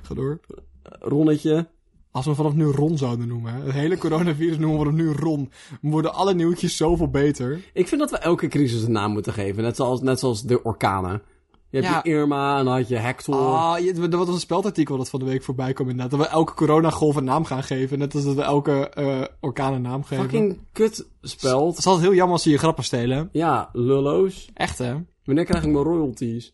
A: Ga door.
B: Ronnetje.
A: Als we vanaf nu Ron zouden noemen, hè? het hele coronavirus noemen we vanaf nu Ron, dan worden alle nieuwtjes zoveel beter.
B: Ik vind dat we elke crisis een naam moeten geven. Net zoals, net zoals de orkanen. Je hebt
A: Ja.
B: die Irma en dan had je Hector.
A: Ah, je- er was een speldartikel dat van de week voorbij kwam inderdaad. Dat we elke coronagolf een naam gaan geven, net als dat we elke eh, orkaan een naam geven.
B: Fucking kut
A: Het
B: speld.
A: is altijd heel jammer als ze je grappen stelen.
B: Ja, lullo's.
A: Echt, hè?
B: Wanneer krijg ik mijn royalties?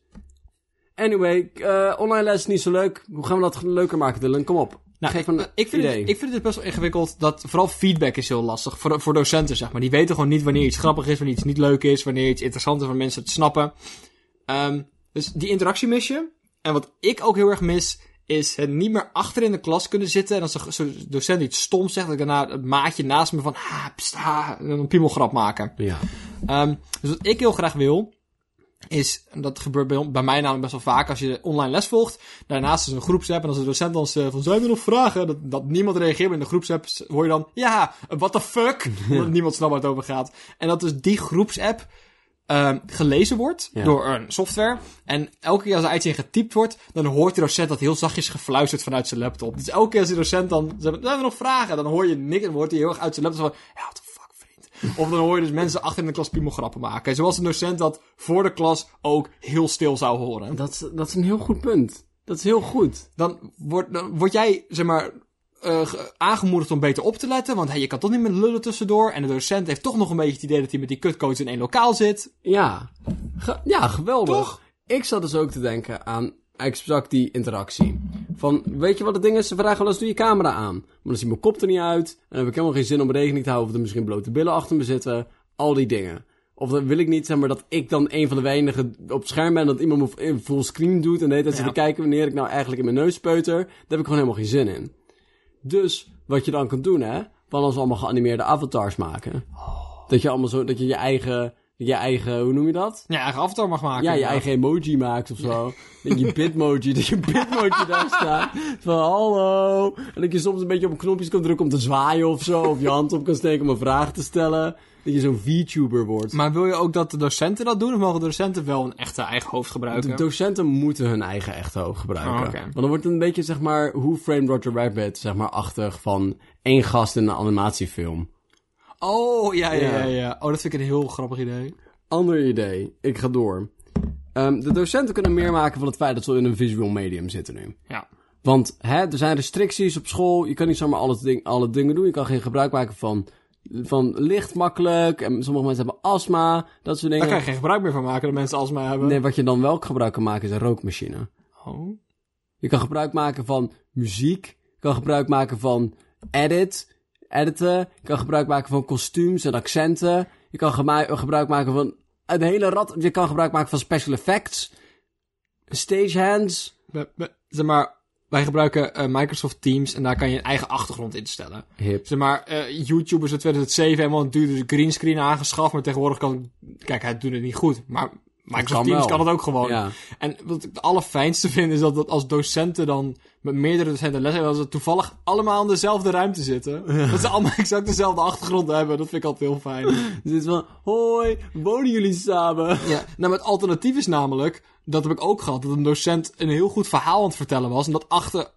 B: Anyway, eh, online les is niet zo leuk. Hoe gaan we dat leuker maken, Dylan? Kom op.
A: Nou,
B: Geef een
A: Ik vind, het,
B: idee.
A: ik vind het dus best wel ingewikkeld dat vooral feedback is heel lastig. Voor, voor docenten, zeg maar. Die weten gewoon niet wanneer iets grappig is, wanneer iets niet leuk is, wanneer iets interessant is voor mensen te snappen. Ehm, dus die interactie mis je. En wat ik ook heel erg mis, is het niet meer achter in de klas kunnen zitten. En als de zo'n docent iets stoms zegt, dat ik daarna het maatje naast me van, ah, pst, ah, en dan een piemelgrap maken.
B: Ja.
A: Ehm, dus wat ik heel graag wil, is, en dat gebeurt bij, on- bij mij namelijk best wel vaak, als je online les volgt, daarnaast is een groepsapp en als de docent dan zegt van, zijn er nog vragen? Dat, dat niemand reageert, maar in de groepsapp s- hoor je dan, ja, what the fuck? Omdat niemand snapt waar het over gaat. En dat dus die groepsapp ehm, gelezen wordt
B: Ja.
A: door een software en elke keer als er iets in getypt wordt, dan hoort de docent dat heel zachtjes gefluisterd vanuit zijn laptop. Dus elke keer als die docent dan, zegt, zijn er nog vragen? Dan hoor je niks en hoort hij heel erg uit zijn laptop van, ja, what the fuck? vriend. Of dan hoor je dus mensen achter in de klas piemelgrappen maken. Zoals een docent dat voor de klas ook heel stil zou horen.
B: Dat, is- dat is een heel goed punt. Dat is heel goed.
A: Dan word, dan word jij, zeg maar, eh, ge- aangemoedigd om beter op te letten. Want hey, je kan toch niet met lullen tussendoor. En de docent heeft toch nog een beetje het idee dat hij met die kutcoach in één lokaal zit.
B: Ja. Ge- ja, geweldig.
A: Toch?
B: Ik zat dus ook te denken aan exact die interactie. Van, weet je wat het ding is? Ze vragen wel eens, doe je camera aan. Maar dan zie mijn kop er niet uit. En dan heb ik helemaal geen zin om rekening te houden of er misschien blote billen achter me zitten. Al die dingen. Of dan wil ik niet, zeg maar, dat ik dan een van de weinigen op scherm ben... dat iemand me in full screen doet en de hele tijd zit
A: Ja.
B: te kijken... wanneer ik nou eigenlijk in mijn neus peuter. Daar heb ik gewoon helemaal geen zin in. Dus, wat je dan kan doen, hè... van als we allemaal geanimeerde avatars maken... Dat je allemaal zo, dat je je eigen je eigen, hoe noem je dat?
A: Ja, eigen avatar mag maken.
B: Ja, je
A: inderdaad.
B: eigen emoji maakt of zo. Dat je
A: [LAUGHS]
B: bitmoji, dat je bitmoji daar staat. Van hallo. En dat je soms een beetje op knopjes kan drukken om te zwaaien of zo. Of je hand op kan steken om een vraag te stellen. Dat je zo'n VTuber wordt.
A: Maar wil je ook dat de docenten dat doen? Of mogen de docenten wel een echte eigen hoofd gebruiken?
B: De docenten moeten hun eigen echte hoog gebruiken.
A: Oh, oké.
B: Want dan wordt het een beetje, zeg maar, hoe framed Roger Rabbit, zeg maar, achtig van één gast in een animatiefilm.
A: oh, ja, ja,
B: Ja.
A: ja, ja. Oh, dat vind ik een heel grappig idee.
B: Ander idee. Ik ga door. Ehm, de docenten kunnen meer maken van het feit dat ze in een visual medium zitten nu.
A: Ja.
B: Want hè, er zijn restricties op school. Je kan niet zomaar alle, ding, alle dingen doen. Je kan geen gebruik maken van, van licht makkelijk. En sommige mensen hebben astma. Dat
A: Daar
B: soort dingen.
A: kan je geen gebruik meer van maken, dat mensen alsmaar hebben.
B: Nee, wat je dan wel gebruik kan maken is een rookmachine.
A: Oh.
B: Je kan gebruik maken van muziek. Je kan gebruik maken van edit, editen. Je kan gebruik maken van kostuums en accenten. Je kan gema- gebruik maken van een hele rat. Je kan gebruik maken van special effects. Stagehands.
A: We- we- zeg maar, wij gebruiken eh, Microsoft Teams en daar kan je een eigen achtergrond instellen.
B: Hip.
A: Zeg maar, eh YouTube is in 2007 helemaal een dure greenscreen aangeschaft, maar tegenwoordig kan... Kijk, hij doet het niet goed, maar Microsoft
B: kan
A: Teams
B: wel.
A: kan het ook gewoon.
B: Ja.
A: En wat ik het allerfijnste vind, is dat, dat als docenten dan met meerdere docenten les hebben, dat ze toevallig allemaal in dezelfde ruimte zitten. Dat ze allemaal [LAUGHS] exact dezelfde achtergrond hebben. Dat vind ik altijd heel fijn.
B: Dus het is van, hoi, wonen jullie samen? [LAUGHS]
A: Ja, nou, het alternatief is namelijk, dat heb ik ook gehad, dat een docent een heel goed verhaal aan het vertellen was. En dat achter,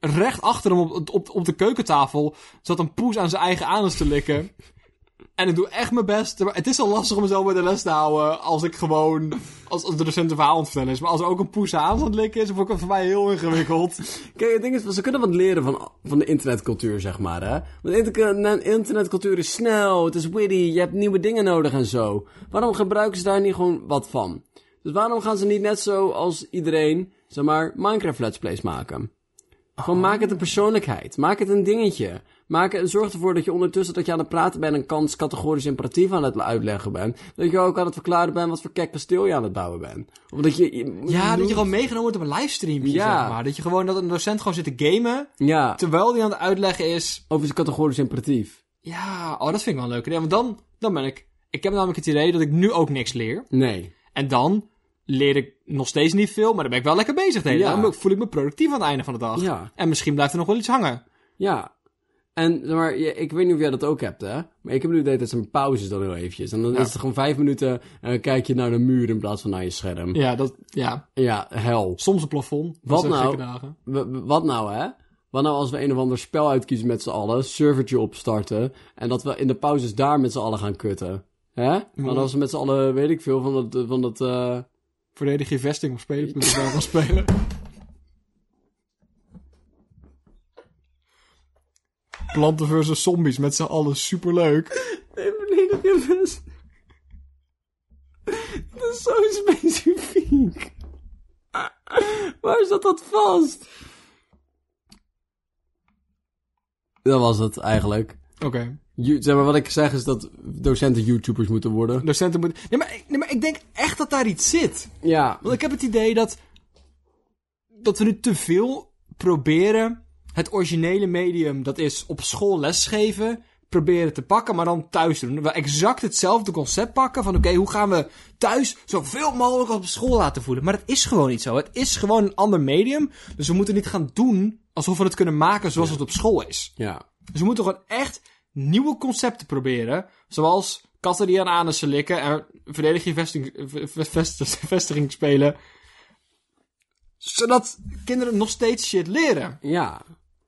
A: recht achter hem op, op, op de keukentafel zat een poes aan zijn eigen anus te [LAUGHS] likken. En ik doe echt mijn best. Maar het is al lastig om mezelf bij de les te houden als ik gewoon, als, als de docent een verhaal aan het vertellen is. Maar als er ook een poes aan aan het likken is, vond ik het voor mij heel ingewikkeld.
B: Kijk, het ding is, ze kunnen wat leren van, van de internetcultuur, zeg maar, hè. Want internet- internetcultuur is snel, het is witty, je hebt nieuwe dingen nodig en zo. Waarom gebruiken ze daar niet gewoon wat van? Dus waarom gaan ze niet net zo als iedereen, zeg maar, Minecraft Let's Plays maken?
A: Oh.
B: Gewoon maak het een persoonlijkheid. Maak het een dingetje. Maak, het- zorg ervoor dat je ondertussen dat je aan het praten bent... en kans categorisch imperatief aan het uitleggen bent. Dat je ook aan het verklaren bent wat voor kek kasteel je aan het bouwen bent. Of dat je...
A: [LAUGHS] Ja, dat je gewoon meegenomen wordt op een livestream.
B: Ja.
A: Zeg maar. Dat je gewoon dat een docent gewoon zit te gamen.
B: Ja,
A: Terwijl die aan het uitleggen is.
B: over zijn categorisch imperatief.
A: Ja, oh, dat vind ik wel een leuk idee. Want dan, dan ben ik. Ik heb namelijk het idee dat ik nu ook niks leer.
B: Nee.
A: En dan leer ik nog steeds niet veel, maar dan ben ik wel lekker bezig. De hele
B: Ja.
A: dag. Dan voel ik me productief aan het einde van de dag.
B: Ja.
A: En misschien blijft er nog wel iets hangen.
B: Ja. En zeg maar, je- ik weet niet of jij dat ook hebt, hè? Maar ik heb nu de hele tijd zo'n pauzes dan heel eventjes. En dan is het gewoon vijf minuten en dan kijk je naar de muur in plaats van naar je scherm. Ja,
A: Ja, dat, ja.
B: hel.
A: soms een plafond. Dat
B: Wat
A: zijn
B: nou?
A: gekke dagen.
B: W- w- wat nou, hè? Wat nou als we een of ander spel uitkiezen met z'n allen, servertje opstarten... en dat we in de pauzes daar met z'n allen gaan kutten? Hè? Want als we met z'n allen, weet ik veel, van dat... Van dat eh,
A: Verdedig je vesting op spelen. moet je wel gaan spelen. Planten versus zombies met z'n allen superleuk.
B: Nee, verdedig je best. Dat is zo specifiek. Waar zat dat vast? Dat was het eigenlijk.
A: Oké.
B: Ju- Zeg maar, wat ik zeg is dat docenten YouTubers moeten worden.
A: Docenten moeten. Nee maar, ik- nee, maar ik denk echt dat daar iets zit.
B: Ja,
A: Want ik heb het idee dat. dat we nu te veel proberen. het originele medium, dat is op school lesgeven. proberen te pakken, maar dan thuis te doen. Dat we exact hetzelfde concept pakken. van oké, hoe gaan we thuis zoveel mogelijk als op school laten voelen. Maar dat is gewoon niet zo. Het is gewoon een ander medium. Dus we moeten niet gaan doen alsof we het kunnen maken zoals het op school is.
B: ja.
A: Dus we moeten gewoon echt nieuwe concepten proberen. Zoals katten die aan anussen likken en verdedig je vesting, v- vest- [LAUGHS] vestiging spelen. Zodat kinderen nog steeds shit leren.
B: Ja.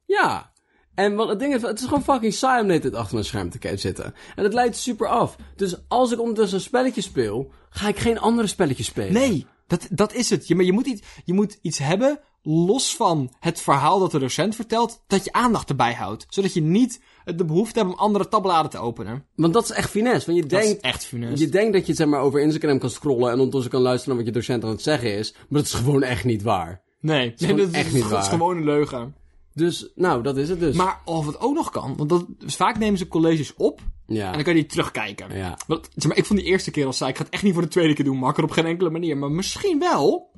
B: Ja. En wat het ding is, het is gewoon fucking saai om dit achter mijn scherm te ke- zitten. En het leidt super af. Dus als ik ondertussen een spelletje speel, ga ik geen andere spelletjes spelen.
A: Nee, dat, dat is het. Je, maar je moet, iets, je moet iets hebben, los van het verhaal dat de docent vertelt, dat je aandacht erbij houdt. Zodat je niet de behoefte hebt om andere tabbladen te openen.
B: Want dat is echt finesse. Want je
A: Dat
B: denkt,
A: is echt funest.
B: Je denkt dat je zeg maar, over Instagram kan scrollen en ondertussen kan luisteren naar wat je docent aan het zeggen is. Maar dat is gewoon echt niet waar.
A: Nee, nee, [LAUGHS]
B: gewoon
A: dat is,
B: echt niet
A: dat is
B: waar.
A: gewoon een leugen.
B: Dus, nou, dat is het dus.
A: Maar of het ook nog kan, want dat, vaak nemen ze colleges op
B: ja.
A: En dan kan je die terugkijken.
B: Ja.
A: Want, zeg maar, ik vond die eerste keer al saai. Ik ga het echt niet voor de tweede keer doen, makker. Op geen enkele manier. Maar misschien wel.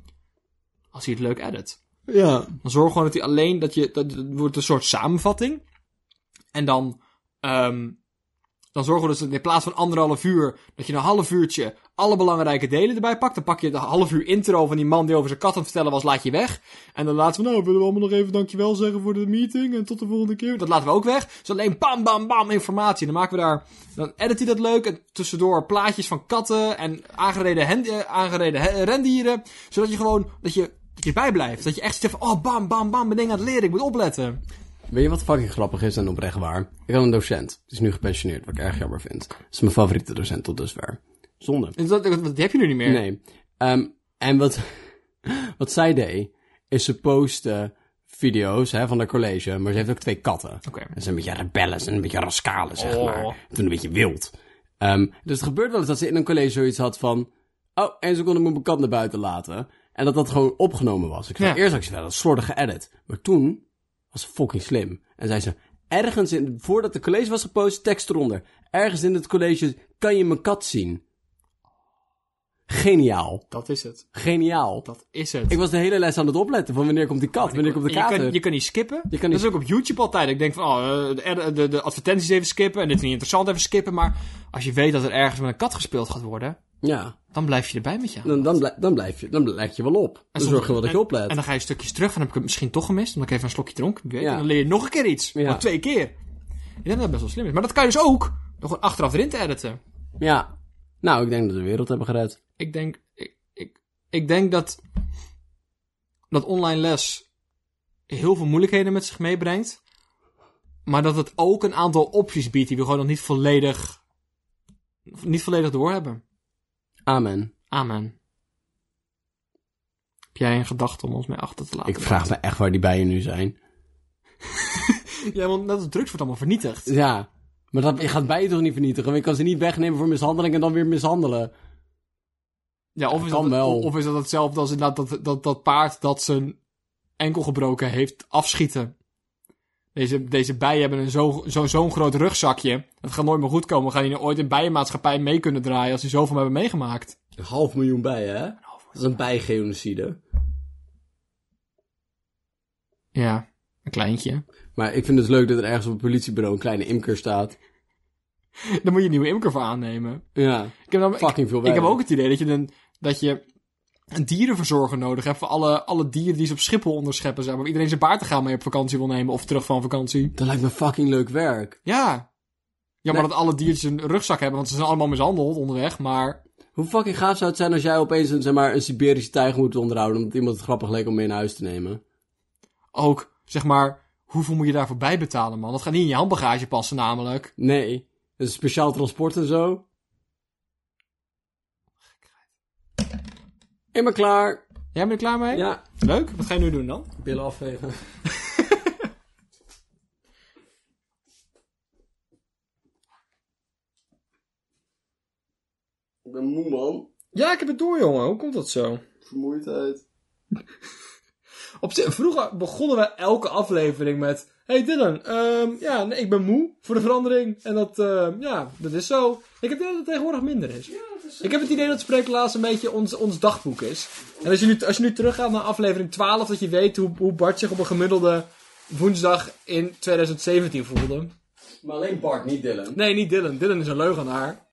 A: Als hij het leuk edit.
B: ja.
A: Dan zorg gewoon dat hij alleen... Dat je, dat, dat wordt een soort samenvatting. En dan... ehm, Dan zorgen we dus dat in plaats van anderhalf uur, dat je een half uurtje alle belangrijke delen erbij pakt. Dan pak je de half uur intro van die man die over zijn kat aan het vertellen was, laat je weg. En dan laten we, nou, willen we allemaal nog even dankjewel zeggen voor de meeting en tot de volgende keer. Dat laten we ook weg. Dus alleen bam, bam, bam, informatie. En dan maken we daar, dan edit hij dat leuk. En tussendoor plaatjes van katten en aangereden, hen, eh, aangereden he- rendieren. Zodat je gewoon, dat je, dat je bijblijft. Dat je echt zegt van, oh, bam, bam, bam, ben dingen aan het leren. Ik moet opletten.
B: Weet je wat fucking grappig is en oprecht waar? Ik had een docent. Die is nu gepensioneerd, wat ik erg jammer vind. Dat is mijn favoriete docent tot dusver. Zonde.
A: En dat, dat, dat heb je nu niet meer.
B: Nee. Ehm, en wat, [LAUGHS] wat zij deed, is ze postte video's hè, van haar college, maar ze heeft ook twee katten.
A: Oké.
B: En ze zijn een beetje rebellen, ze zijn een beetje rascalen, zeg
A: Oh.
B: maar. Ze zijn een beetje wild. Ehm, dus het gebeurt wel eens dat ze in een college zoiets had van... Oh, één seconde moet ik mijn kat naar buiten laten. En dat dat gewoon opgenomen was. Ik zei,
A: Ja.
B: eerst had ik ze wel een slordige edit. Maar toen was ze fucking slim. En zei ze, ergens in... Voordat de college was gepost, tekst eronder. Ergens in het college kan je mijn kat zien. Geniaal.
A: Dat is het.
B: Geniaal.
A: Dat is het.
B: Ik was de hele les aan het opletten van wanneer komt die kat, wanneer komt de
A: je,
B: kater.
A: kan, je kan niet skippen.
B: Je kan niet-
A: Dat is ook op YouTube altijd. Ik denk van, oh, eh, de, ad- de, de advertenties even skippen en dit is niet interessant even skippen. Maar als je weet dat er ergens met een kat gespeeld gaat worden,
B: Ja,
A: dan blijf je erbij met je.
B: dan, dan, blij- dan blijf je, dan blijf je wel op. Dan zorg je wel dat je oplet.
A: En dan ga je stukjes terug en dan heb ik het misschien toch gemist, omdat ik even een slokje dronk. Wie weet.
B: Ja.
A: En dan leer je nog een keer iets.
B: Ja.
A: Maar twee keer. Ik denk dat dat best wel slim is. Maar dat kan je dus ook nog gewoon achteraf erin te editen.
B: Ja. Nou, ik denk dat we de wereld hebben gered.
A: ik denk, ik, ik, ik denk dat, dat online les heel veel moeilijkheden met zich meebrengt. Maar dat het ook een aantal opties biedt die we gewoon nog niet volledig, niet volledig doorhebben.
B: Amen.
A: Amen. Heb jij een gedachte om ons mee achter te laten?
B: Ik vraag me echt waar die bijen nu zijn.
A: Ja, want dat drugs wordt allemaal vernietigd.
B: Ja. Maar dat, je gaat bijen toch niet vernietigen? Want je kan ze niet wegnemen voor mishandeling en dan weer mishandelen.
A: Ja, of, is
B: kan
A: dat,
B: wel.
A: of is dat hetzelfde als inderdaad dat, dat, dat paard dat zijn enkel gebroken heeft afschieten. Deze, deze bijen hebben een zo- zo- zo'n groot rugzakje. Het gaat nooit meer goed komen. We gaan die nou ooit een bijenmaatschappij mee kunnen draaien als die zoveel hebben meegemaakt.
B: Een half miljoen bijen, hè? Dat is een bijgenocide.
A: Ja, een kleintje.
B: Maar ik vind het leuk dat er ergens op het politiebureau een kleine imker staat.
A: [LAUGHS] Dan moet je een nieuwe imker voor aannemen.
B: Ja.
A: Ik heb, dan, ik,
B: Fucking veel
A: ik
B: bijen.
A: heb ook het idee dat je een, dat je een dierenverzorger nodig hebt voor alle, alle dieren die ze op Schiphol onderscheppen. Zeg maar. Waar Iedereen zijn baard te gaan mee op vakantie wil nemen of terug van vakantie.
B: Dat lijkt me fucking leuk werk.
A: Ja. Jammer
B: Nee.
A: dat alle diertjes een rugzak hebben, want ze zijn allemaal mishandeld onderweg, maar...
B: Hoe fucking gaaf zou het zijn als jij opeens een, zeg maar, een Siberische tijger moet onderhouden... omdat iemand het grappig leek om mee naar huis te nemen?
A: Ook, zeg maar, hoeveel moet je daarvoor bijbetalen, man? Dat gaat niet in je handbagage passen, namelijk.
B: Nee. Een speciaal transport en zo. Immer klaar.
A: Jij bent er klaar mee?
B: Ja,
A: Leuk. Wat ga je nu doen dan?
B: billen afvegen. [LAUGHS] ik ben moe man.
A: Ja, ik heb het door, jongen. Hoe komt dat zo?
B: Vermoeidheid.
A: Op zich- vroeger begonnen we elke aflevering met... Hey Dylan, ehm, ja, nee, ik ben moe voor de verandering. En dat, ehm, ja, dat is zo. Ik heb het idee dat het tegenwoordig minder is. Ik heb het idee dat Spreeklaas een beetje ons, ons dagboek is. En als je, nu, als je nu teruggaat naar aflevering 12, dat je weet hoe, hoe Bart zich op een gemiddelde woensdag in 2017 voelde.
B: Maar alleen Bart, niet Dylan.
A: Nee, niet Dylan. Dylan is een leugenaar.